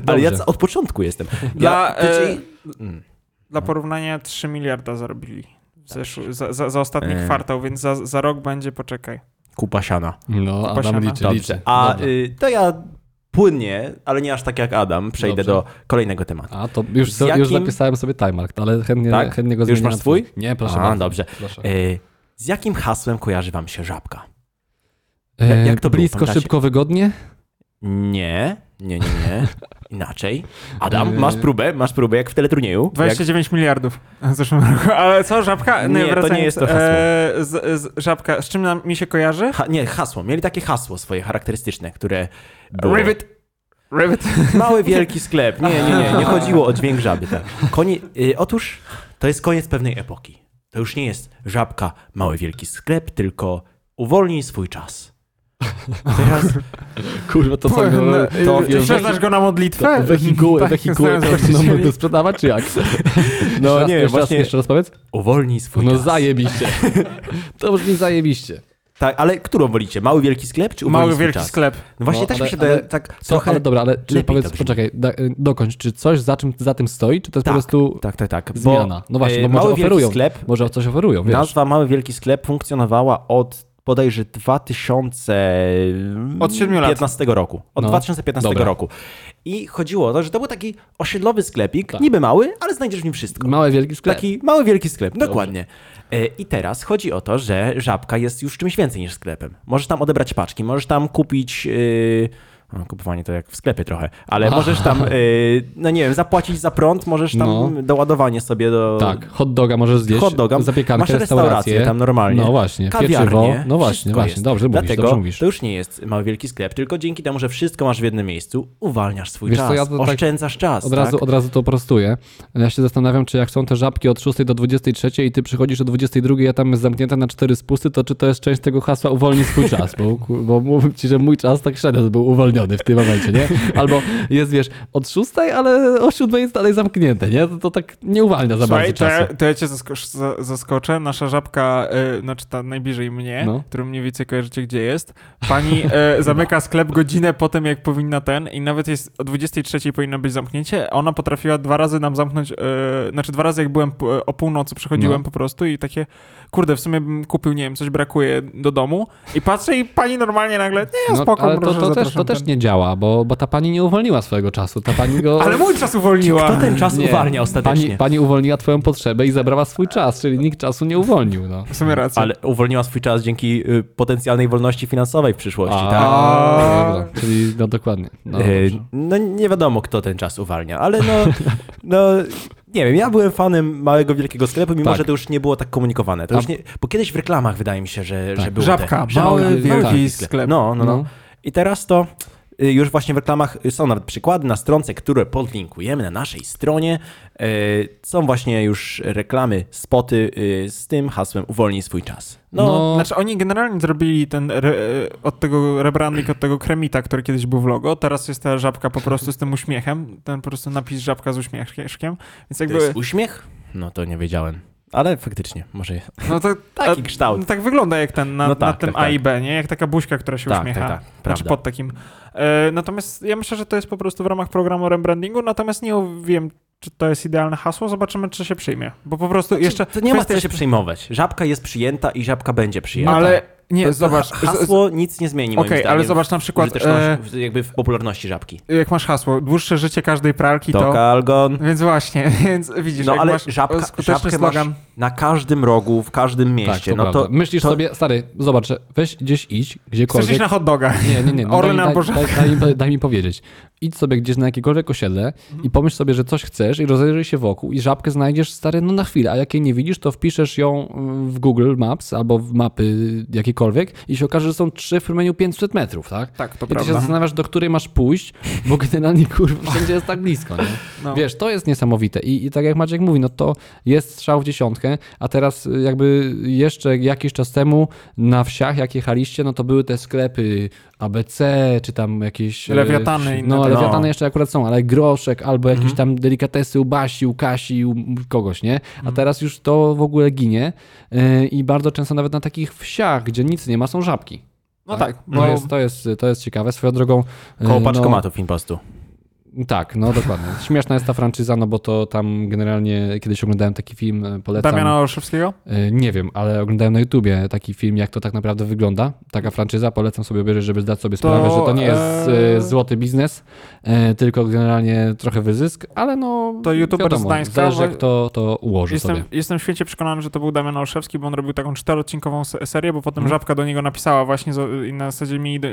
A: Ale ja
C: Dobrze.
A: ca- od początku jestem.
B: Dla,
A: ja,
B: e,
A: tydzień- Mm.
B: Dla porównania 3 miliarda zarobili
A: Tak.
B: w zeszł- za, za, za ostatni
A: E.
B: kwartał, więc za, za rok będzie, poczekaj.
A: Kupa siana.
C: No, a
B: Posiana.
C: tam liczy,
A: Dobrze.
C: liczy.
A: A
C: Dobra.
A: y, to ja płynnie, ale nie aż tak jak Adam, przejdę
C: Dobrze.
A: do kolejnego tematu.
C: A to już,
A: z
C: to, już
A: jakim-
C: zapisałem sobie timemark, ale chętnie,
A: Tak?
C: chętnie go
A: Już
C: zmienię.
A: masz
C: na
A: swój?
C: Nie, proszę
A: A,
C: bardzo.
A: dobrze.
C: Proszę.
A: Y, z jakim hasłem kojarzy wam się żabka?
C: E,
A: jak to było?
C: Blisko,
A: Fantasia.
C: szybko, wygodnie?
A: Nie, nie, nie, nie. Inaczej. Adam,
C: Y,
A: masz próbę, masz próbę, jak w teleturnieju. Jak
B: 29 miliardów w zeszłym roku. Ale co, żabka?
A: Nie, to
B: wracając,
A: nie jest to hasło.
B: e, z, z, żabka, z czym nam, mi się kojarzy?
A: Ha, nie, hasło. Mieli takie hasło swoje charakterystyczne, które. Było.
B: Rivet. Rivet.
A: Mały, wielki sklep. Nie, nie, nie. Nie chodziło o dźwięk żaby. Tak. Konie, y, otóż to jest koniec pewnej epoki. To już nie jest żabka, mały, wielki sklep, tylko uwolnij swój czas. Teraz
C: Kurwa, to co...
B: No,
C: To
B: e, Ty przeznasz go na modlitwę? Tak,
C: Wehikuły, wehikuły,
B: zostałem
C: to będą
B: zaprosicieli.
C: sprzedawać, czy jak?
A: No,
C: Jeszcze raz-
A: nie,
C: jeszcze
A: właśnie-
C: Raz, jeszcze raz powiedz.
A: uwolnij swój
C: No
A: czas.
C: zajebiście. To brzmi zajebiście.
A: Tak, ale którą wolicie? Mały, wielki sklep czy uwolnij
B: Mały
A: swój
B: wielki
A: czas?
B: sklep.
A: No właśnie
C: No,
A: też
C: ale-
A: mi się daje
C: ale-
A: tak
C: Co,
A: trochę...
C: ale dobra, ale czy
A: lepiej to
C: powiedz,
A: brzmi.
C: poczekaj, da, y, dokończ, czy coś za czym za tym stoi, czy to jest
A: Tak,
C: po prostu
A: tak, tak, tak. bo,
C: zmiana? No właśnie,
A: e,
C: bo może
A: mały, wielki
C: oferują,
A: sklep
C: może coś oferują, wiesz.
A: Nazwa Mały Wielki Sklep funkcjonowała od bodajże 2015
B: Od siedmiu lat.
A: roku. Od
C: No.
A: 2015
C: Dobra.
A: roku. I chodziło o to, że to był taki osiedlowy sklepik,
C: Tak.
A: niby mały, ale znajdziesz w nim wszystko.
C: Mały wielki sklep.
A: Taki mały wielki sklep, dokładnie. E, I teraz chodzi o to, że żabka jest już czymś więcej niż sklepem. Możesz tam odebrać paczki, możesz tam kupić. Yy... no, Kupowanie to jak w sklepie trochę, ale możesz tam, yy, no nie wiem, zapłacić za prąd, możesz tam
C: No.
A: doładowanie sobie do,
C: Tak, hot doga możesz zjeść,
A: Hot doga,
C: zapiekankę,
A: masz restaurację tam normalnie.
C: No właśnie,
A: kawiarnie,
C: pieczywo, no właśnie,
A: wszystko
C: właśnie,
A: jest.
C: dobrze mówisz,
A: Dlatego
C: dobrze mówisz.
A: to już nie jest mały wielki sklep, tylko dzięki temu, że wszystko masz w jednym miejscu, uwalniasz swój
C: Wiesz co,
A: czas,
C: ja to tak
A: oszczędzasz czas.
C: Od razu,
A: tak?
C: od razu to prostuję. Ja się zastanawiam, czy jak są te żabki od 6 do 23 i ty przychodzisz o 22, a tam jest zamknięta na 4 spusty, to czy to jest część tego hasła uwolnij swój czas? Bo, ku- bo mówię ci, że mój czas tak średnio był uwolniony w tym momencie, nie? Albo jest, wiesz, od 6, ale o 7 jest dalej zamknięte, nie? To, to tak nie uwalnia za
B: Słuchaj,
C: bardzo
B: to ja,
C: czasu.
B: to ja cię zaskoczę, zaskoczę. Nasza żabka, y, znaczy ta najbliżej mnie,
C: No.
B: którą mniej więcej kojarzycie, gdzie jest. Pani y, zamyka sklep godzinę po tym, jak powinna ten i nawet jest o 23 powinno być zamknięcie. a Ona potrafiła dwa razy nam zamknąć, y, znaczy dwa razy jak byłem p- o północy, przychodziłem
C: No.
B: po prostu i takie, kurde, w sumie bym kupił, nie wiem, coś brakuje do domu i patrzę i pani normalnie nagle, nie,
C: No,
B: spoko,
C: ale to,
B: proszę,
C: to, też, to
B: zapraszam
C: też
B: ten.
C: nie działa, bo, bo ta pani nie uwolniła swojego czasu. Ta pani go.
B: Ale mój czas uwolniła.
A: Kto ten czas
C: Nie.
A: uwalnia ostatecznie?
C: Pani, pani uwolniła twoją potrzebę i zabrała swój czas, czyli nikt czasu nie uwolnił. No.
B: W sumie rację.
A: Ale uwolniła swój czas dzięki y, potencjalnej wolności finansowej w przyszłości,
C: A,
A: tak?
C: dobra, czyli no dokładnie. No,
A: Y,
C: dobrze.
A: No nie wiadomo, kto ten czas uwalnia, ale no, no nie wiem, ja byłem fanem małego wielkiego sklepu, mimo
C: Tak.
A: że to już nie było tak komunikowane. To
C: A-
A: już nie, bo kiedyś w reklamach wydaje mi się, że,
C: Tak.
A: że było
B: Żabka,
A: te,
B: mały, wielki
A: sklep.
B: sklep.
A: No, no, no,
C: No.
A: I teraz to y, już właśnie w reklamach są nawet przykłady na stronce, które podlinkujemy na naszej stronie. Y, Są właśnie już reklamy, spoty y, z tym hasłem uwolnij swój czas. No,
C: No.
B: Znaczy oni generalnie zrobili ten re, e, od tego rebranding, od tego kremita, który kiedyś był w logo, teraz jest ta żabka po prostu z tym uśmiechem, ten po prostu napis żabka z uśmieszkiem, więc
A: to
B: jakby...
A: jest uśmiech? No to nie wiedziałem. Ale faktycznie, może jest.
B: No to,
A: Taki
B: a-
A: kształt.
B: No tak wygląda jak ten na,
A: No tak,
B: na tym
A: tak, tak.
B: A i B, nie? Jak taka buźka, która się
A: Tak,
B: uśmiecha.
A: tak, tak.
B: Znaczy
A: Prawda.
B: pod takim. E, natomiast ja myślę, że to jest po prostu w ramach programu rebrandingu, natomiast nie wiem, czy to jest idealne hasło. Zobaczymy, czy się przyjmie. Bo po prostu jeszcze.
A: Znaczy, To nie ma
B: kwestia
A: co się przejmować. Żabka jest przyjęta i żabka będzie przyjęta.
B: Ale nie,
A: To- to
B: zobacz.
A: ha-
B: z- z-
A: Hasło nic nie zmieni moim
B: Okej,
A: zdaniem.
B: ale zobacz na przykład. E,
A: Użyteczność, jakby w popularności żabki.
B: jak masz hasło, dłuższe życie każdej pralki
A: To
B: to.
A: kalgon.
B: Więc właśnie, więc widzisz,
A: No
B: jak
A: ale
B: masz e,
A: żabka,
B: skuteczny
A: żabkę masz
B: slogan.
A: na każdym rogu, w każdym
C: Tak,
A: mieście.
C: to
A: no
C: prawda.
A: to
C: Myślisz
A: to-
C: sobie, stary, zobacz, weź gdzieś idź,
B: Chcesz
C: gdziekolwiek.
B: iść na hot doga.
C: Nie, nie, nie. No
B: Orlen
C: daj, mi-
B: albo
C: daj, daj, daj, mi- daj mi powiedzieć. Idź sobie gdzieś na jakiekolwiek osiedle i pomyśl sobie, że coś chcesz i rozejrzyj się wokół i żabkę znajdziesz, stary, no na chwilę, a jak jej nie widzisz, to wpiszesz ją mm, w Google Maps albo w mapy jakiekolwiek i się okaże, że są trzy w promieniu 500 metrów, tak?
B: Tak, to
C: I ty się
B: prawda.
C: zastanawiasz, do której masz pójść, bo generalnie kurwa wszędzie jest tak blisko, nie?
B: No.
C: Wiesz, to jest niesamowite I, i tak jak Maciek mówi, no to jest strzał w dziesiątkę, a teraz y, jakby jeszcze jakiś czas temu na wsiach, jak jechaliście, no to były te sklepy ABC, czy tam jakieś... y,
B: Lewiatany i inne Mhm.
C: No,
B: takie.
C: lewiatany
A: No.
C: jeszcze akurat są, ale groszek albo jakieś tam delikatesy u Basi, u Kasi, u kogoś, nie?
B: Mhm.
C: A teraz już to w ogóle ginie y, i bardzo często nawet na takich wsiach, gdzie nic nie ma, są żabki.
B: No tak,
C: To,
B: bo
C: jest, to, jest, to jest ciekawe. Swoją drogą. e,
A: Koło paczkomatów impostu.
C: No, tak, no dokładnie. Śmieszna jest ta franczyza, no bo to tam generalnie kiedyś oglądałem taki film, e, polecam.
B: Damiana Olszewskiego?
C: E, Nie wiem, ale oglądałem na YouTubie taki film, jak to tak naprawdę wygląda. Taka franczyza, polecam sobie obejrzeć, żeby zdać sobie sprawę, że to nie jest
B: e,
C: e, złoty biznes, e, tylko generalnie trochę wyzysk, ale no.
B: To youtuber
C: wiadomo,
B: z Gdańska,
C: Zależy,
B: bo-
C: jak to, to ułoży
B: Jestem,
C: sobie.
B: jestem w święcie przekonany, że to był Damian Olszewski, bo on robił taką czterodcinkową se- serię, bo
A: Mhm.
B: potem Żabka do niego napisała właśnie z- i na zasadzie mi do,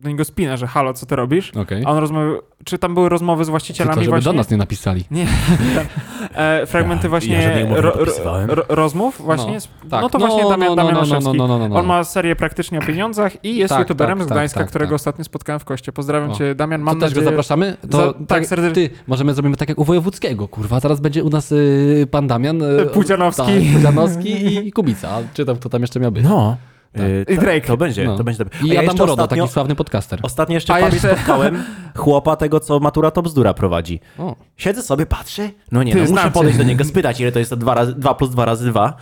B: do niego spina, że halo, co ty robisz?
C: Okej.
A: Mhm.
B: A on rozmawiał, czy tam były rozmowy z
C: Tylko,
B: właścicielami
C: żeby
B: właśnie?
C: do nas nie napisali.
B: Nie, tak. e, fragmenty
A: Ja-
B: właśnie
A: ja żadnej umowy nie
B: ro, ro,
A: podpisywałem.
B: ro, rozmów właśnie.
C: No,
B: z-
C: tak.
B: no to
C: No,
B: właśnie Damian,
C: no,
B: Damian
C: no, no,
B: Olszewski.
C: no, no, no, no.
B: On ma serię praktycznie o pieniądach i jest
C: Tak,
B: youtuberem
C: tak,
B: z
C: tak,
B: Gdańska,
C: tak,
B: którego
C: tak.
B: ostatnio spotkałem w koście. Pozdrawiam
C: O.
B: cię, Damian.
C: To
B: Mam
C: też go
B: nadzieję...
C: zapraszamy? To,
B: Za-
C: tak,
B: tak, serdecznie.
C: Ty, możemy zrobimy tak jak u Wojewódzkiego, kurwa, teraz będzie u nas y, pan Damian. Y,
B: Pudzianowski.
C: Tak, Pudzianowski i Kubica, a czy tam kto tam jeszcze miał być.
A: No. Y,
B: I
A: to-
B: Drake.
A: To będzie,
C: No.
A: to będzie dobre. A
C: I
A: ja
C: Adam
A: jeszcze
C: Borodo,
A: ostatnio,
C: taki sławny podcaster.
A: ostatnio jeszcze,
B: A
A: A
B: jeszcze-
A: spotkałem chłopa tego, co Matura to Bzdura prowadzi.
C: O.
A: Siedzę sobie, patrzę, no nie,
B: Ty,
A: no, muszę
B: znaczy.
A: podejść do niego, spytać, ile to jest to 2 razy, dwa plus 2 razy 2,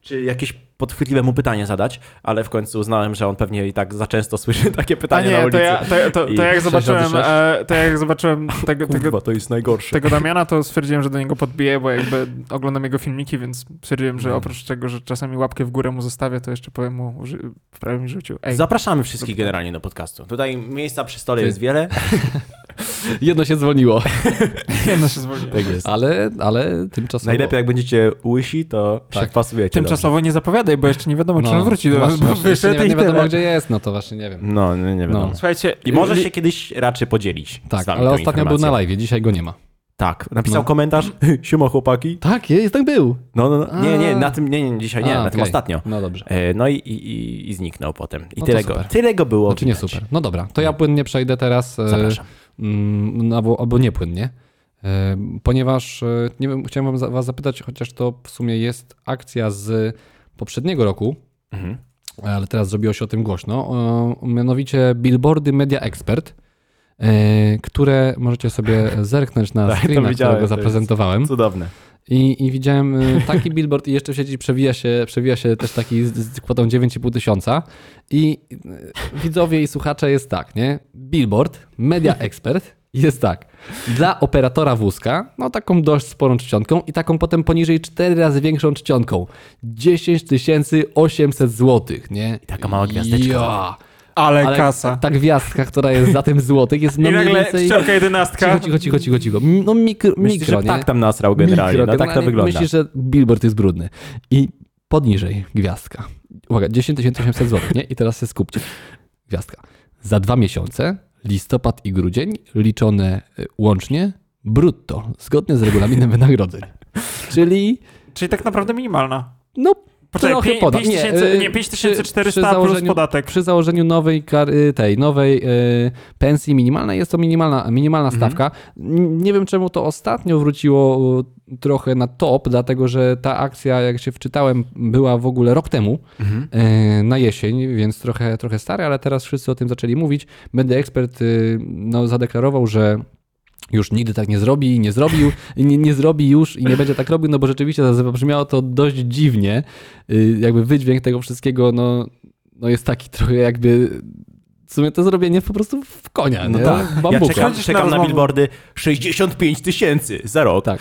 A: czy jakieś podchwytliwe mu pytanie zadać, ale w końcu uznałem, że on pewnie i tak za często słyszy takie
B: A
A: pytania na
B: nie,
A: ulicy.
B: to, ja, to, to, to,
A: I-
B: jak zobaczyłem,
C: 66.
B: e, to jak zobaczyłem tego, tego,
A: Kurwa, Tak, to jest najgorsze.
B: tego Damiana, to stwierdziłem, że do niego podbiję, bo jakby oglądam jego filmiki, więc stwierdziłem,
C: No.
B: że oprócz tego, że czasami łapkę w górę mu zostawię, to jeszcze powiem mu że w prawym życiu. Ej,
A: Zapraszamy wszystkich generalnie do podcastu. Tutaj miejsca przy stole
C: Ty.
A: jest wiele.
C: Jedno się dzwoniło,
B: jedno się zwolniło.
C: Tak, ale, ale tymczasowo.
A: Tak Najlepiej jak będziecie łysi, to
C: Tak.
A: się wpasujecie.
B: Tymczasowo nie zapowiadaj, bo jeszcze nie wiadomo, czy
C: No,
B: on wróci do
C: no
B: nas, bo
C: właśnie, właśnie,
B: wyszedł
C: nie,
B: i
C: nie wiadomo,
B: tyle.
C: gdzie jest, no to właśnie nie wiem.
A: dobrze. No, nie, nie wiadomo.
C: No.
B: Słuchajcie, y,
A: I może
B: li-
A: się kiedyś raczy podzielić. z
C: Tak,
A: nami
C: ale
A: tą
C: ostatnio był na
A: informacją.
C: live, dzisiaj go nie ma.
A: Tak, napisał
C: No.
A: komentarz. Siema chłopaki.
C: Tak, jest, tak był.
A: No, no, no. Nie, nie,
C: A.
A: na tym, nie, nie, dzisiaj nie,
C: A,
A: na tym
C: okej.
A: ostatnio.
C: No dobrze.
A: E, No i, i, i- i zniknął potem. I
C: No to
A: tyle, go,
C: super.
A: tyle go było.
C: Znaczy nie
A: widać.
C: super. No dobra, to ja płynnie przejdę teraz. e,
A: Zapraszam.
C: Mm, no, albo, albo nie płynnie. E, Ponieważ e, nie wiem, chciałem wam za- was zapytać, chociaż to w sumie jest akcja z poprzedniego roku,
A: Mhm.
C: ale teraz zrobiło się o tym głośno. e, Mianowicie billboardy Media Expert, e, które możecie sobie zerknąć na
A: Tak, to
C: screena,
A: widziałem,
C: którego
A: to jest
C: zaprezentowałem.
A: Cudowne.
C: I, I widziałem y, taki billboard i jeszcze w sieci przewija się, przewija się też taki z, z kwotą 9,5 tysiąca. I y, widzowie i słuchacze jest tak, nie? Billboard, media expert jest tak. Dla operatora wózka, no taką dość sporą czcionką i taką potem poniżej 4 razy większą czcionką. 10 800 zł, nie? I
A: taka mała gwiazdeczka.
C: Ja.
B: Ale,
C: Ale
B: kasa.
C: ta gwiazdka, która jest za tym złotych, jest no
B: I
C: mniej
B: nagle
C: więcej...
B: szczelka jedenastka.
C: Cicho, cicho, cicho, cicho, cicho. No mikro,
A: Myślisz,
C: mikro
A: że
C: nie?
A: tak tam nasrał generalnie, no tak to wygląda.
C: Myślisz, że billboard jest brudny. I poniżej gwiazdka. Uwaga, 10 800 zł, nie? I teraz się skupcie. Gwiazdka. Za dwa miesiące, listopad i grudzień, liczone y, łącznie, brutto, zgodnie z regulaminem wynagrodzeń. Czyli,
B: Czyli tak naprawdę minimalna.
C: no,
B: Poczekaj,
C: trochę
B: pię-
C: poda.
B: pięć tysięcy- nie, pięć
C: przy-
B: tysięcy czterysta
C: przy
B: plus
C: założeniu-
B: podatek.
C: Przy założeniu nowej kary, tej nowej y, pensji minimalnej jest to minimalna, minimalna
A: Mhm.
C: stawka. N- Nie wiem, czemu to ostatnio wróciło y, trochę na top, dlatego że ta akcja, jak się wczytałem, była w ogóle rok temu
A: Mhm.
C: y, na jesień, więc trochę, trochę stary, ale teraz wszyscy o tym zaczęli mówić. Będę ekspert y, no, zadeklarował, że już nigdy tak nie zrobi i nie zrobił, i nie, nie zrobi już i nie będzie tak robił, no bo rzeczywiście zabrzmiało to dość dziwnie. Y, Jakby wydźwięk tego wszystkiego, no, no jest taki trochę jakby... W sumie to zrobienie po prostu w konia,
A: No
C: nie?
A: tak, ja
C: Bambuka.
A: czekam,
B: Chodzisz
A: czekam
B: na
A: na
B: rozmowę.
A: billboardy 65 tysięcy za rok.
C: Tak.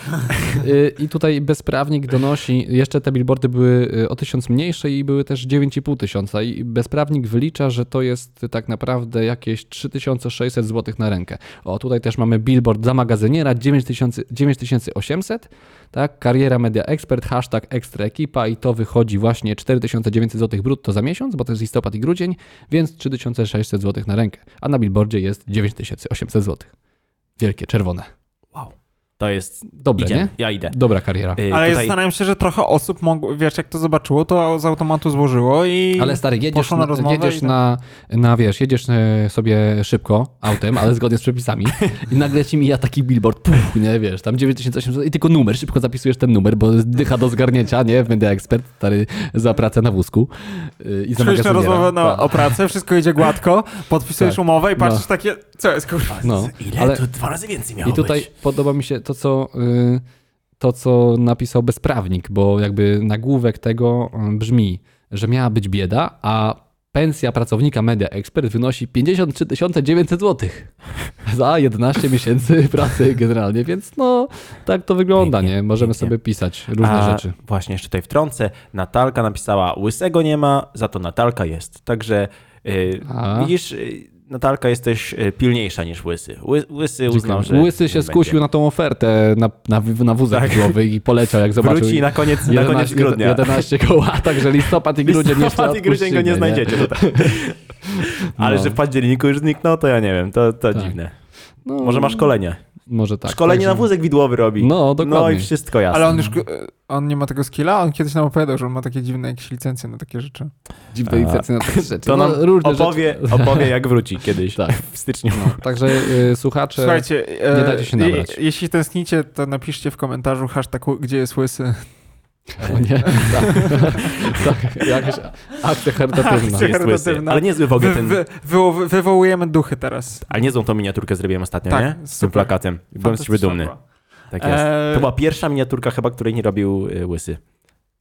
C: Y, I tutaj bezprawnik donosi, jeszcze te billboardy były y, o tysiąc mniejsze i były też 9,5 tysiąca. I bezprawnik wylicza, że to jest tak naprawdę jakieś 3600 zł na rękę. O, tutaj też mamy billboard dla magazyniera 9000 9800, tak? Kariera Media Expert, hashtag Ekstra Ekipa i to wychodzi właśnie 4900 zł brutto za miesiąc, bo to jest listopad i grudzień, więc 3600 zł na rękę. A na billboardzie jest 9800 zł. Wielkie, czerwone.
A: Wow. To jest...
C: Dobre,
A: Idziemy.
C: nie?
A: Ja idę.
C: Dobra kariera.
A: Y,
B: Ale
A: tutaj-
B: zastanawiam się, że trochę osób mogło, wiesz, jak to zobaczyło, to z automatu złożyło i
C: Ale stary, jedziesz,
B: poszło na
C: na,
B: rozmowę
C: jedziesz
B: i tak.
C: na, na, wiesz, jedziesz e, sobie szybko autem, ale zgodnie z przepisami i nagle ci mija taki billboard, puch, nie, wiesz, tam 9800 i tylko numer, szybko zapisujesz ten numer, bo dycha do zgarnięcia, nie, będę ekspert, stary, za pracę na wózku y, i za
B: Przyjdziesz na
C: magazyniera.
B: rozmowę na,
C: Tak.
B: o pracę, wszystko idzie gładko, podpisujesz
C: Tak.
B: umowę i
C: No.
B: patrzysz takie, co jest kurwa.
C: No,
A: Ile?
C: ale-
A: To dwa razy więcej miało
C: I tutaj
A: być.
C: podoba mi się to, co. y, To, co napisał bezprawnik, bo jakby nagłówek tego y, brzmi, że miała być bieda, a pensja pracownika Media Expert wynosi 53 900 zł za 11 miesięcy pracy generalnie, więc no tak to wygląda,
A: Pięknie,
C: nie? Możemy
A: pięknie.
C: sobie pisać różne
A: A
C: rzeczy.
A: Właśnie, jeszcze tutaj wtrącę. Natalka napisała, łysego nie ma, za to Natalka jest. Także y,
C: A.
A: widzisz, y, Natalka jesteś y, pilniejsza niż łysy. Ły, łysy uznał, że...
C: Łysy się
A: nie
C: skusił
A: będzie.
C: na tą ofertę na, na, na wózek tak. głowy i poleciał, jak zobaczył.
A: Wróci na koniec, na koniec
C: 11
A: grudnia.
C: 11 koła, także listopad i grudzień jeszcze
A: Listopad i grudzień go
C: odpuścimy,
A: nie znajdziecie. to tak. Ale
C: No.
A: że w październiku już zniknął, to ja nie wiem, to, to
C: Tak.
A: dziwne.
C: No,
A: Może ma szkolenie.
C: Może tak.
A: szkolenie
C: także-
A: na wózek widłowy robi.
C: No,
A: No
C: dokładnie.
A: i wszystko jasne.
B: Ale on już, y, on nie ma tego skilla? On kiedyś nam opowiadał, że on ma takie dziwne jakieś licencje na takie rzeczy.
C: Dziwne licencje na takie rzeczy.
A: To nam
C: no, różne
A: opowie,
C: rzeczy.
A: opowie, jak wróci kiedyś
C: Tak.
A: w styczniu.
C: Także y, słuchacze,
B: Słuchajcie, y,
C: nie dajcie się
B: je-
C: nabrać.
B: jeśli tęsknicie, to napiszcie w komentarzu hashtag gdzie jest łysy.
C: o nie, tak, tak, jakaś akcja charytatywna.
B: Akcja-
A: Jest łysy.
B: charytatywna.
A: Ale niezły w
B: Wy,
A: ogóle ten...
B: wy, wywo- wywołujemy duchy teraz.
A: Ale niezłą tą miniaturkę zrobiłem ostatnio,
B: Tak,
A: nie? Z tym
B: super.
A: plakatem. Byłem z ciebie
B: Fantastyczna
A: dumny.
B: była.
A: Tak jest.
B: Eee,
A: To była pierwsza miniaturka chyba, której nie robił y, Łysy.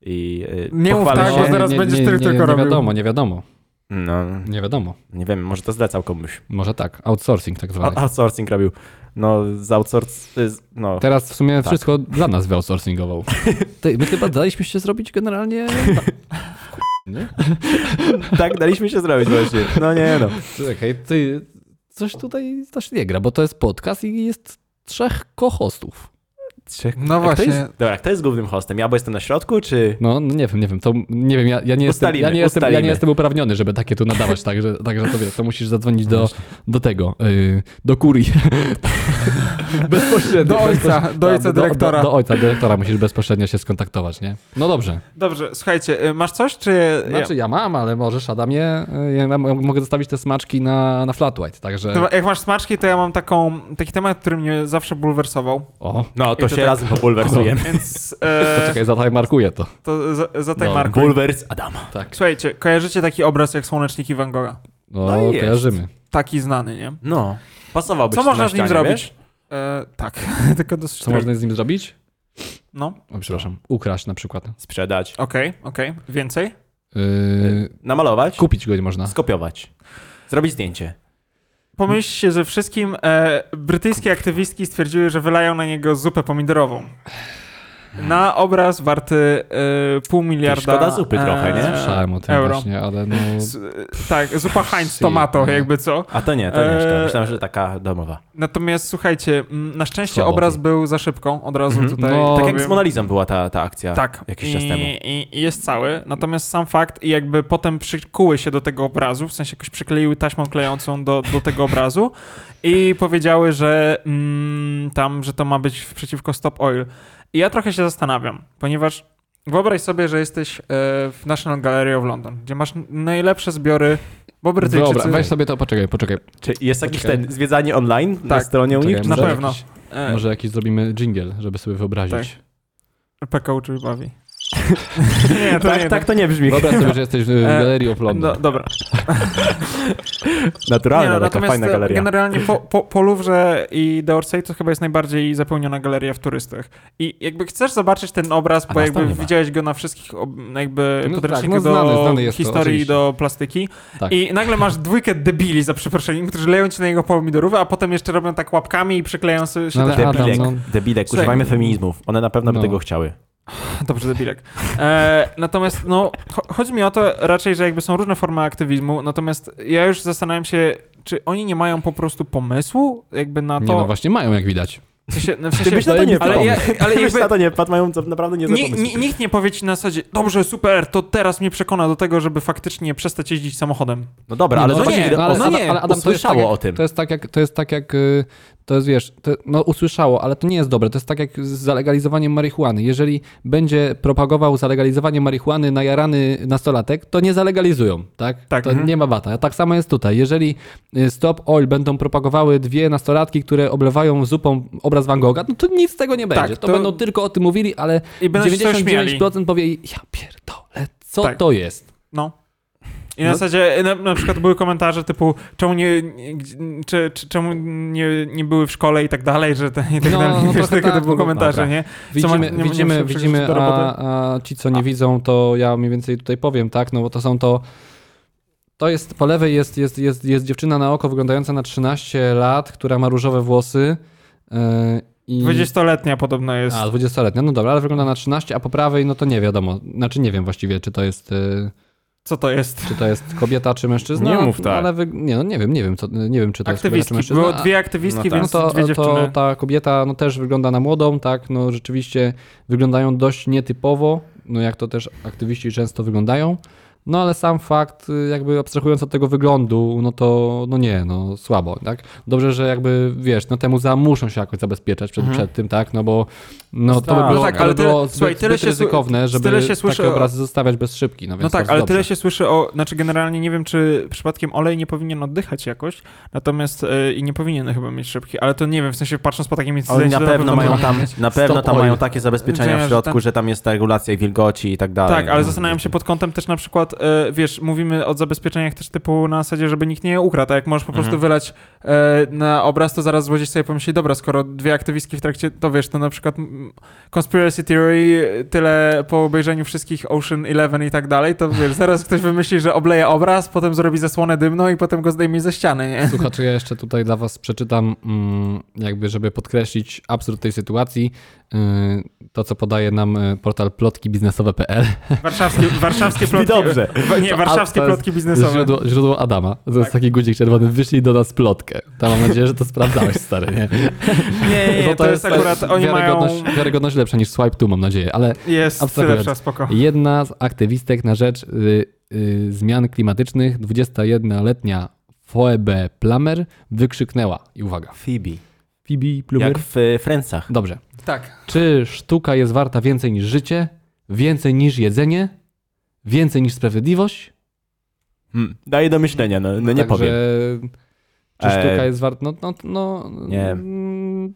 A: I y,
B: Nie mów
A: pochwalę
B: tak,
A: się.
B: bo zaraz będziesz ty tylko
C: nie,
B: robił.
C: wiadomo, nie wiadomo,
A: No,
C: nie wiadomo.
A: nie wiem, może to zlecał komuś.
C: Może tak, outsourcing tak zwany.
A: O- Outsourcing robił. No, z outsourc... y, z- No,
C: Teraz w sumie wszystko dla nas wyoutsourcingował. Ty, my chyba daliśmy się zrobić generalnie... Nie?
A: tak daliśmy się zrobić właśnie. No nie no.
C: Czekaj, ty, coś tutaj coś nie gra, bo to jest podcast i jest trzech kohostów.
A: Trzech...
B: No
A: A kto
B: właśnie.
A: Jest... Dobra, kto jest głównym hostem? Ja, bo jestem na środku, czy...
C: No, no nie wiem, nie wiem, to nie wiem, ja, ja, nie, jestem, ja,
A: Ustalimy,
C: nie, jestem, ja
A: ustalimy.
C: nie jestem uprawniony, żeby takie tu nadawać, także, także to, wiesz, to musisz zadzwonić do, do tego, yy, do kurii. bezpośrednio.
B: Do ojca,
C: bezpośrednio.
B: do ojca
C: Tak,
B: dyrektora.
C: Do, do ojca dyrektora musisz bezpośrednio się skontaktować, nie? No dobrze.
B: Dobrze, słuchajcie, y, masz coś, czy...
C: Znaczy ja mam, ale możesz, Adamie, yy, ja mam- mogę zostawić te smaczki na, na flat white, także...
B: To jak masz smaczki, to ja mam taką, taki temat, który mnie zawsze bulwersował.
C: O,
A: No, to
B: I
A: się
B: to tak-
A: razem pobulwersujemy.
B: Więc e,
C: czekaj, zatajmarkuję to.
B: to za, za tej
C: No,
B: marką.
A: Bulwers Adama.
C: Tak.
B: Słuchajcie, kojarzycie taki obraz jak Słoneczniki Van Gogha?
C: No,
A: No i jest.
C: kojarzymy.
B: Taki znany, nie?
A: No, pasowałby
B: Co
A: ci to
B: można
A: na
B: z nim
A: ścianie,
B: zrobić?
A: wiesz?
B: E, tak, tylko dosyć
C: Co
B: drogo.
C: można z nim zrobić?
B: No,
C: O, przepraszam, ukraść na przykład.
A: Sprzedać.
B: okej, okej. Więcej?
C: Yy,
A: Namalować.
C: kupić go nie można.
A: Skopiować. Zrobić zdjęcie.
B: Pomyślcie, że wszystkim e, brytyjskie aktywistki stwierdziły, że wylają na niego zupę pomidorową. na obraz warty e, pół miliarda. e,
A: szkoda zupy trochę, nie?
C: Słyszałem o tym
B: Euro.
C: właśnie, ale no...
B: S- Tak, zupa Heinz
C: Si.
B: tomato, jakby co.
A: A to nie, to nie.
B: Eee.
A: jeszcze. Myślałem, że taka domowa.
B: Natomiast słuchajcie, mm, na szczęście
C: Słabo.
B: obraz był za szybką, od razu
A: Mhm.
B: tutaj.
C: No,
A: Tak
B: powiem.
A: jak z Monalizą była ta, ta akcja
B: Tak,
A: jakiś
B: i,
A: czas temu.
B: I, i jest cały. Natomiast sam fakt, i jakby potem przykuły się do tego obrazu, w sensie jakoś przykleiły taśmą klejącą do, do tego obrazu i powiedziały, że mm, tam, że to ma być w- przeciwko Stop Oil. I ja trochę się zastanawiam, ponieważ wyobraź sobie, że jesteś e, w National Gallery of London, gdzie masz n- najlepsze zbiory, bo Brytyjczycy...
C: Dobra, weź sobie to, poczekaj, poczekaj.
A: Czy jest jakiś
C: Poczekaj.
A: ten zwiedzanie online na
B: Tak.
A: stronie u nich?
C: Czekaj,
A: Czy
B: Na
A: coś?
C: może
B: pewno.
C: jakiś-
B: E, Tak.
C: Może jakiś zrobimy jingle, żeby sobie wyobrazić.
B: PKO czy bawi. nie, to
A: tak,
B: nie.
A: tak to nie brzmi.
C: Wyobraź sobie, że jesteś w galerii of London.
B: No, dobra.
A: Naturalna,
B: Nie, no,
A: taka fajna
B: e,
A: galeria.
B: generalnie po, po, po Louvre i D'Orsay to chyba jest najbardziej zapełniona galeria w turystach. I jakby chcesz zobaczyć ten obraz,
A: A
B: bo
A: nas tam
B: jakby
A: nie ma.
B: widziałeś go na wszystkich ob- jakby
C: No tak,
B: podręcznikach
C: no znany,
B: do
C: znany jest to,
B: historii,
C: oczywiście.
B: do plastyki
C: Tak.
B: i nagle masz dwójkę debili, za przeproszeniem, którzy leją ci na jego pomidorówę, a potem jeszcze robią tak łapkami i przykleją sobie się
C: No,
B: do
C: ale- Adam,
A: Debilek,
C: no.
A: debilek.
B: Słuchaj.
A: Używajmy feminizmów. One na pewno
C: No.
A: by tego chciały.
B: Dobrze, debilek. E, natomiast, no, cho- chodzi mi o to raczej, że jakby są różne formy aktywizmu, natomiast ja już zastanawiam się, czy oni nie mają po prostu pomysłu jakby na to...
C: Nie, no właśnie mają, jak widać.
B: w sensie, no, w
A: Ty
B: sensie,
A: byś na to nie
B: ale, ja, ale
A: Ty byś
B: jakby,
A: na to nie wpadł, mają co- naprawdę nie
B: nie, nie, nikt nie powie ci na zasadzie, dobrze, super, to teraz mnie przekona do tego, żeby faktycznie przestać jeździć samochodem.
A: No dobra, ale
C: no
A: zobacz,
B: nie,
A: ile
B: no
A: osób
B: ale- nie,
A: usłyszało
C: tak jak,
A: o tym.
C: To jest tak jak, to jest tak jak, y, to jest wiesz, to, no usłyszało, ale to nie jest dobre. To jest tak jak z zalegalizowaniem marihuany. Jeżeli będzie propagował zalegalizowanie marihuany najarany nastolatek, to nie zalegalizują, tak?
B: Tak,
C: To
B: mhm.
C: nie ma bata. Tak samo jest tutaj. Jeżeli y, Stop Oil będą propagowały dwie nastolatki, które oblewają zupą obraz Van Gogha, no to nic z tego nie będzie. to,
B: to-
C: będą tylko o tym mówili, ale
B: I będą się z tego śmiali.
C: 99% powie, ja pierdolę, co
B: Tak.
C: to jest?
B: No. I na zasadzie, e, na, na przykład były komentarze typu, czemu nie, nie gdzie- czy, czy, czemu nie, nie były w szkole i tak dalej, że te, i tak
C: No,
B: dalej,
C: no
B: wiesz,
C: trochę
B: tylko
C: tak,
B: to były
C: no bo-
B: komentarze,
A: dobra.
B: nie? Co ma-
C: Widzimy,
B: nie będziemy
C: widzimy,
B: się
C: widzimy
B: przerzucić do roboty?
C: a, a ci, co nie widzą, to ja mniej więcej tutaj powiem, tak, no bo to są to... To jest, po lewej jest, jest, jest, jest dziewczyna na oko wyglądająca na 13 lat, która ma różowe włosy yy, i...
B: 20-letnia podobno jest.
C: A, 20-letnia, no dobra, ale wygląda na 13, a po prawej, no to nie wiadomo, znaczy nie wiem właściwie, czy to jest, yy,
B: Co to jest?
C: czy to jest kobieta, czy mężczyzna.
A: Nie mów tak.
C: Ale wy... nie, no nie wiem, nie wiem, co, nie wiem, czy to jest kobieta, czy
B: Aktywistki.
C: mężczyzna.
B: Było
C: a-
B: dwie aktywistki,
A: no tak.
B: więc
C: to,
B: dwie
C: to
B: dziewczyny.
C: ta kobieta no, też wygląda na młodą, tak, no rzeczywiście wyglądają dość nietypowo, no jak to też aktywiści często wyglądają, no ale sam fakt, y, jakby abstrahując od tego wyglądu, no to no nie, no słabo, tak. Dobrze, że jakby, wiesz, no te muzea muszą się jakoś zabezpieczać przed, przed tym, tak, no bo no, to by
A: Tak.
C: było,
A: No
B: Mhm. tak,
C: to
B: ale
C: by
B: tyle-
C: było zbyt,
B: słuchaj, tyle
C: zbyt
B: się sły-
C: ryzykowne, żeby
B: tyle się słyszy
C: takie
B: o-
C: obrazy zostawiać bez szybki, no więc
B: No
C: to
B: tak,
C: jest
B: ale
C: dobrze.
B: tyle się słyszy o. Znaczy, generalnie nie wiem, czy przypadkiem olej nie powinien oddychać jakoś, natomiast y, i nie powinien chyba mieć szybki, ale to nie wiem, w sensie patrząc po takim
A: Oni na
B: to
A: pewno mają tam, na pewno
C: Stop
A: tam
C: oil.
A: mają takie zabezpieczenia
B: Wiedziałem,
A: w
B: No że
A: środku,
B: tam-
A: że tam jest ta regulacja i wilgoci i tak dalej.
B: Tak, ale
A: No.
B: zastanawiam się pod kątem też na przykład, e, wiesz, mówimy o zabezpieczeniach też typu na zasadzie, żeby nikt nie je ukradł, a jak możesz po prostu
C: Mhm.
B: wylać e, na obraz, to zaraz złodziej sobie pomyśli, dobra, skoro dwie aktywistki w trakcie, to wiesz, to na przykład mm, Conspiracy Theory, e, tyle po obejrzeniu wszystkich Ocean Eleven i tak dalej, to wiesz, zaraz ktoś wymyśli, że obleje obraz, potem zrobi zasłonę dymną i potem go zdejmie ze ściany, nie?
C: Słuchacze, ja jeszcze tutaj dla was przeczytam, mm, jakby żeby podkreślić absurd tej sytuacji, yy, to co podaje nam y, portal plotkibiznesowe.pl.
B: Warszawskie, warszawskie
A: Brzmi
B: plotki.
A: dobrze.
B: Wa- Nie, warszawskie
C: A, to jest
B: plotki biznesowe. Tak.
C: Źródło, źródło Adama, to jest taki guzik czerwony, wyszli do nas plotkę. To mam nadzieję, że to sprawdzałeś, stary, nie?
B: Nie, nie,
C: Bo
B: nie, to, jest akurat, oni mają...
C: wiarygodność, wiarygodność lepsza niż Swipe tu, mam nadzieję, ale
B: Jest,
C: abstrahując.
B: lepsza, spoko.
C: Jedna z aktywistek na rzecz y, y, zmian klimatycznych, 21-letnia Phoebe Plummer wykrzyknęła, i uwaga,
A: Phoebe.
C: Phoebe Plummer.
A: Jak w e, Friendsach.
C: Dobrze.
B: Tak.
C: Czy sztuka jest warta więcej niż życie, więcej niż jedzenie, więcej niż sprawiedliwość?
A: Hmm. Daje do myślenia, no, no nie
C: Także,
A: powiem.
C: Czy sztuka
A: E,
C: jest warta? No, no, no
A: nie.
C: mm,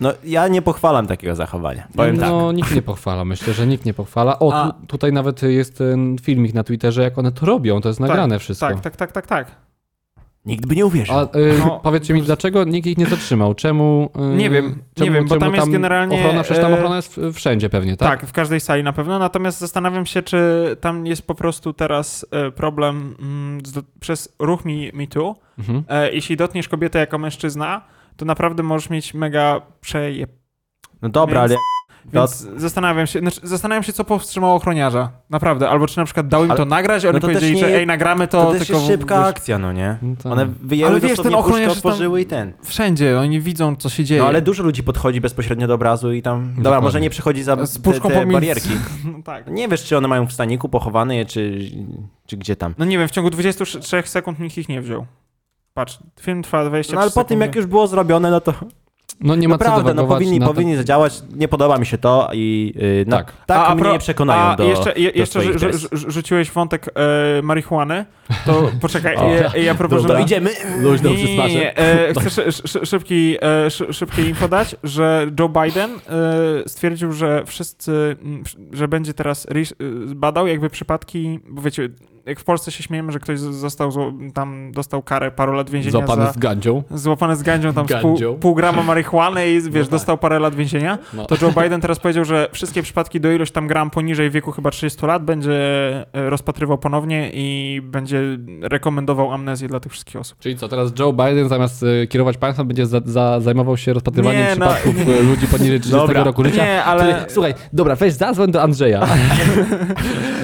A: No ja nie pochwalam takiego zachowania. Powiem tak.
C: no nikt nie pochwala. Myślę, że nikt nie pochwala. O,
B: A-
C: tu, tutaj nawet jest ten filmik na Twitterze, jak one to robią. To jest nagrane wszystko.
B: Tak, tak, tak, tak, tak.
A: Nikt by nie uwierzył.
C: A, y,
B: No.
C: powiedzcie mi, dlaczego nikt ich nie zatrzymał? Czemu? y,
B: Nie wiem,
C: czemu,
B: nie wiem, bo
C: czemu
B: tam jest generalnie,
C: Ochrona, przecież tam
B: e,
C: ochrona jest w- wszędzie pewnie, tak?
B: Tak? w każdej sali na pewno. Natomiast zastanawiam się, czy tam jest po prostu teraz e, problem mm, z, do, przez ruch Mi- MeToo. Me
C: Mhm.
B: e, jeśli dotkniesz kobietę jako mężczyzna, to naprawdę możesz mieć mega przeje...
A: No dobra,
B: więc-
A: ale
B: Więc zastanawiam się, znaczy, zastanawiam się, co powstrzymało ochroniarza. Naprawdę. Albo czy na przykład dał im
A: Ale-
B: to nagrać, a
A: no
B: oni
A: to też
B: powiedzieli,
A: nie
B: że
A: jest-
B: ej, nagramy to,
A: To, też
B: tylko
A: jest
B: w-
A: szybka
B: w-
A: akcja, no nie?
C: No tak.
A: One wyjęły
B: Ale wiesz,
A: dosłownie
B: ten ochroniarz
A: puszkę,
B: tam-
A: otworzyły i ten.
B: Wszędzie, oni widzą, co się dzieje.
A: No ale dużo ludzi podchodzi bezpośrednio do obrazu i tam... Dobra,
C: Dokładnie.
A: może nie przychodzi za
B: Z
A: te,
B: puszką
A: te
B: pomiędzy-
A: barierki.
B: No tak.
A: Nie wiesz, czy one mają w staniku pochowane je, czy, czy gdzie tam.
B: No nie wiem, w ciągu 23 sekund nikt ich nie wziął. Patrz, film trwa 23
A: No ale po tym,
B: sekundy.
A: jak już było zrobione, no to
C: No nie ma co
A: naprawdę, no
C: demagować
A: powinni,
C: na ten-
A: powinni zadziałać, nie podoba mi się to i yy, no,
C: Tak.
A: tak
B: a, a
A: mnie
B: pro-
A: nie przekonają
B: a
A: do
B: jeszcze, je,
A: do
B: jeszcze
A: swoich
B: rzu-
A: tez.
B: rzu- rzu- rzuciłeś wątek e, marihuany, to poczekaj,
C: O.
B: ja, ja proponuję...
A: Dobra, no, idziemy.
C: Luźno
B: Nie, nie, nie, nie. E, chcę szy, szy, szybki, e, szy, szybkie info dać, że Joe Biden e, stwierdził, że wszyscy, m, że będzie teraz ris- e, badał jakby przypadki, bo wiecie, jak w Polsce się śmiejemy, że ktoś z- został, zło- tam dostał karę paru lat więzienia
C: Złapany
B: za...
C: z gandzią.
B: Złapany z gandzią tam z pół,
C: Gandzią. tak.
B: pół grama marihuany i wiesz, dostał parę lat więzienia.
C: No.
B: To Joe Biden teraz powiedział, że wszystkie przypadki do ilość tam gram poniżej wieku chyba 30 lat będzie e, rozpatrywał ponownie i będzie rekomendował amnezję dla tych wszystkich osób.
C: Czyli co, teraz Joe Biden zamiast y, kierować państwem będzie za, za, zajmował się rozpatrywaniem
B: Nie, no,
C: przypadków y, ludzi poniżej 30
A: Dobra.
C: roku życia.
B: Nie,
C: Ale...
B: ale
C: Słuchaj, dobra, weź zadzwoń do Andrzeja,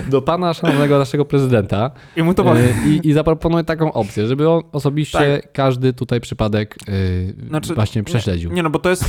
C: do pana szanownego naszego prezydenta
B: i mu to powiem. Tak.
C: y, i, i zaproponuj taką opcję, żeby on osobiście każdy tutaj przypadek y,
B: Znaczy,
C: właśnie prześledził.
B: Nie no, bo to jest. e,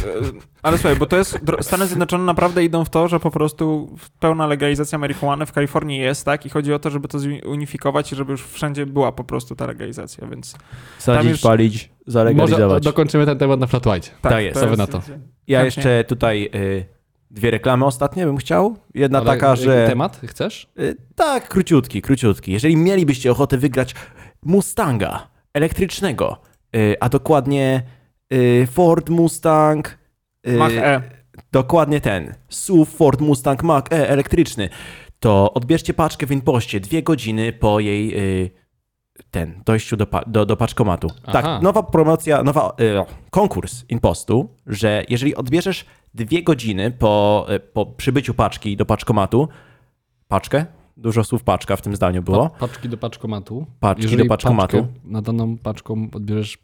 B: Ale słuchaj, bo to jest. dro- Stany Zjednoczone naprawdę idą w to, że po prostu pełna legalizacja marihuany w Kalifornii jest, tak? I chodzi o to, żeby to zunifikować i żeby już wszędzie była po prostu ta legalizacja, więc. Tam
A: Sadzić,
B: już-
A: palić,
C: Może o-
A: zalegalizować.
C: dokończymy ten temat na flatwajcie.
A: Tak jest,
C: co wy na to?
A: Ja
B: Chętnie.
A: jeszcze tutaj y, dwie reklamy ostatnie bym chciał. Jedna
C: Ale
A: taka, że...
C: Temat chcesz?
A: Y, tak, króciutki, króciutki. Jeżeli mielibyście ochotę wygrać Mustanga elektrycznego, y, a dokładnie y, Ford Mustang... y,
B: Mach E.
A: Dokładnie ten. SUV Ford Mustang Mach-E elektryczny. To odbierzcie paczkę w InPoście dwie godziny po jej y, ten dojściu do, pa- do, do paczkomatu.
C: Aha.
A: Tak, nowa promocja, nowa y, o, konkurs InPostu, że jeżeli odbierzesz dwie godziny po, y, po przybyciu paczki do paczkomatu, paczkę, dużo słów paczka w tym zdaniu było,
C: Pa- Paczki do paczkomatu.
A: Paczki
C: Jeżeli
A: do paczkomatu.
C: paczkę Na daną paczką odbierzesz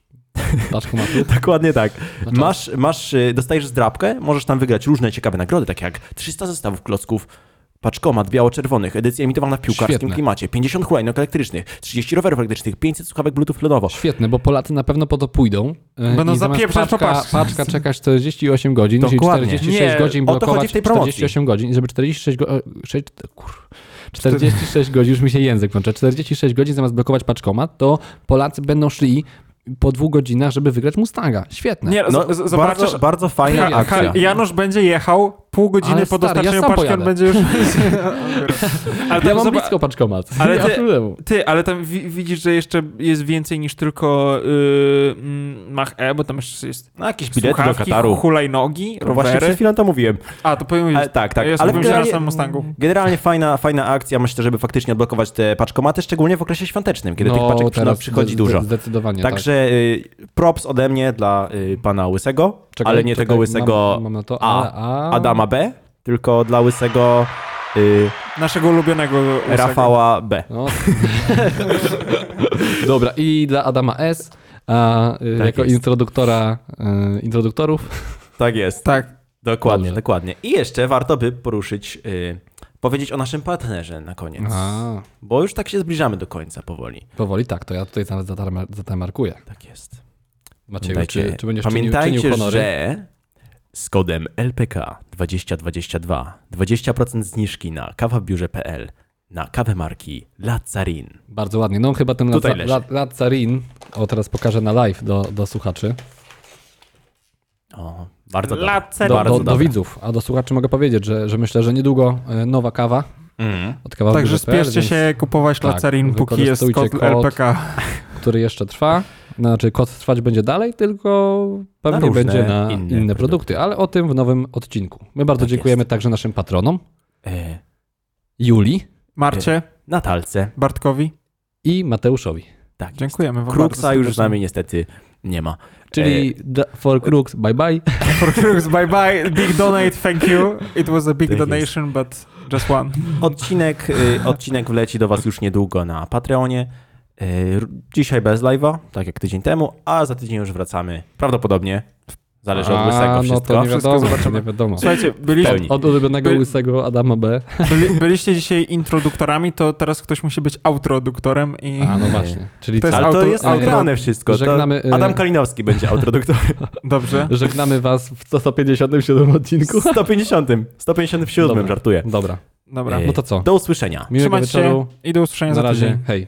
C: paczkomatu.
A: Dokładnie tak.
C: No
A: Masz, masz, y, dostajesz zdrabkę, możesz tam wygrać różne ciekawe nagrody, takie jak 300 zestawów klocków, paczkomat biało-czerwonych, edycja emitowana w piłkarskim
C: Świetne.
A: klimacie, 50 hulajnóg elektrycznych, 30 rowerów elektrycznych, 500 słuchawek bluetooth lodowo.
C: Świetne, bo Polacy na pewno po to pójdą. e,
B: Będą
C: i zamiast
B: zapieprzać po
C: paczka,
B: paczce.
C: paczka czekać 48 godzin,
A: Dokładnie.
C: czyli 46
B: Nie,
C: godzin
A: o to chodzi
C: blokować
A: w tej promocji.
C: 48 godzin, żeby 46 go, e, sześć- kur, 46 godzin, już mi się język męczy, 46 godzin zamiast blokować paczkomat, to Polacy będą szli po dwóch godzinach, żeby wygrać Mustanga. Świetne.
B: Nie,
A: No,
B: z- z- zobaczysz.
A: bardzo, bardzo fajna
B: Ja-
A: akcja.
B: Ka- Janusz będzie jechał pół godziny
C: Ale
B: po
C: stary, ja
B: dostarczeniu
C: sam
B: paczki,
C: pojadę.
B: on będzie już. Ale
C: ja
B: tam
C: mam
B: zoba-
C: blisko paczkomat,
B: Ale
C: nie ma
B: ty-
C: problemu.
B: Ty, ale tam wi- widzisz, że jeszcze jest więcej niż tylko y, mm, Mach E, bo tam jeszcze jest
A: No, jakieś bilety do
B: słuchawki,
A: Kataru.
B: hulajnogi,
A: No Właśnie przed
B: rowery.
A: chwilą to mówiłem.
B: A, to powiem
A: Ale, tak, tak.
B: Ja
A: ale
B: skupiłem się na samym Mustangu.
A: generalnie fajna, fajna akcja, myślę, żeby faktycznie odblokować te paczkomaty, szczególnie w okresie świątecznym, kiedy tych paczek przyno-
C: No, teraz
A: przychodzi
C: zde-
A: dużo.
C: Zdecydowanie tak.
A: Także y, props ode mnie dla y, pana Łysego,
C: Czekaj,
A: ale nie
C: czekaj,
A: tego Łysego
C: mam- mam na to,
A: A,
C: ale- a.
A: Adama B, tylko dla Łysego y,
B: Naszego ulubionego łysego.
A: Rafała B.
C: No. Dobra, i dla Adama S. A, y,
A: Tak
C: jako
A: jest.
C: introduktora y, introduktorów.
A: Tak jest,
B: Tak.
A: dokładnie,
C: Dobrze.
A: dokładnie. I jeszcze warto by poruszyć, y, powiedzieć o naszym partnerze na koniec,
C: A,
A: bo już tak się zbliżamy do końca powoli.
C: powoli tak, to ja tutaj nawet zatarma- zatamarkuję.
A: Tak jest.
C: Macieju, czy, czy będziesz czynił,
A: pamiętajcie,
C: czynił honory?
A: że z kodem LPK 2022 20% zniżki na kawabiurze.pl na kawę marki La Carin.
C: Bardzo ładnie. No chyba ten
A: Tutaj
C: Laza-
A: leży.
C: La- Lazarin, o teraz pokażę na live do, do słuchaczy,
A: O, bardzo
B: La
A: dobra.
B: Carin.
C: do,
A: Bardzo
C: do, do
A: dobra.
C: widzów, a do słuchaczy mogę powiedzieć, że, że myślę, że niedługo y, nowa kawa
A: Mm.
C: od kawa
B: Także
C: Biurze.pl,
B: spieszcie
C: więc-
B: się kupować
C: Tak,
B: lacerin, póki jest kod,
C: wykorzystujcie kod.
B: LPK.
C: który jeszcze trwa. Znaczy, kod trwać będzie dalej, tylko pewnie
A: różne
C: będzie na inne,
A: inne
C: produkty.
A: produkty.
C: ale o tym w nowym odcinku. My bardzo
A: Tak
C: dziękujemy
A: jest.
C: także naszym patronom,
A: E,
C: Julii
B: Marcie,
A: Natalce.
B: Bartkowi,
C: i Mateuszowi.
A: Tak. jest.
B: dziękujemy wam
A: Kruksa
B: bardzo
A: już z
B: serdecznie.
A: nami niestety nie ma.
C: Czyli e... For Crooks, bye bye.
B: For Crooks, bye bye, big donate, thank you. It was a big
A: Tak jest.
B: donation, but just one.
A: Odcinek, y, odcinek wleci do Was już niedługo na Patreonie. Y, r- Dzisiaj bez live'a, tak jak tydzień temu, a za tydzień już wracamy. Prawdopodobnie Zależy od łysego
C: A, no
A: wszystko.
C: to nie
B: Wszystko
C: wiadomo,
B: zobaczymy.
C: nie wiadomo.
B: Słuchajcie, byliście,
A: pełni.
C: Od ulubionego
B: By-
C: łysego Adama B.
B: byli, byliście dzisiaj introduktorami, to teraz ktoś musi być outroduktorem i
C: A, no właśnie. Czyli
B: To
C: co?
B: jest-
A: Ale to
B: auto-
A: jest
C: auto-
A: nagrane wszystko.
C: żegnamy,
A: to
C: y-
A: Adam Kalinowski będzie autoroduktorem.
B: dobrze.
C: Żegnamy was w 157 odcinku.
A: W 150. 157
C: Dobra.
A: żartuję.
C: Dobra,
B: Dobra.
A: Ej,
C: no to co?
A: Do usłyszenia.
C: Miłego
B: Trzymajcie się
C: wieczoru.
B: i do usłyszenia
C: Na
B: za tydzień.
C: razie, hej.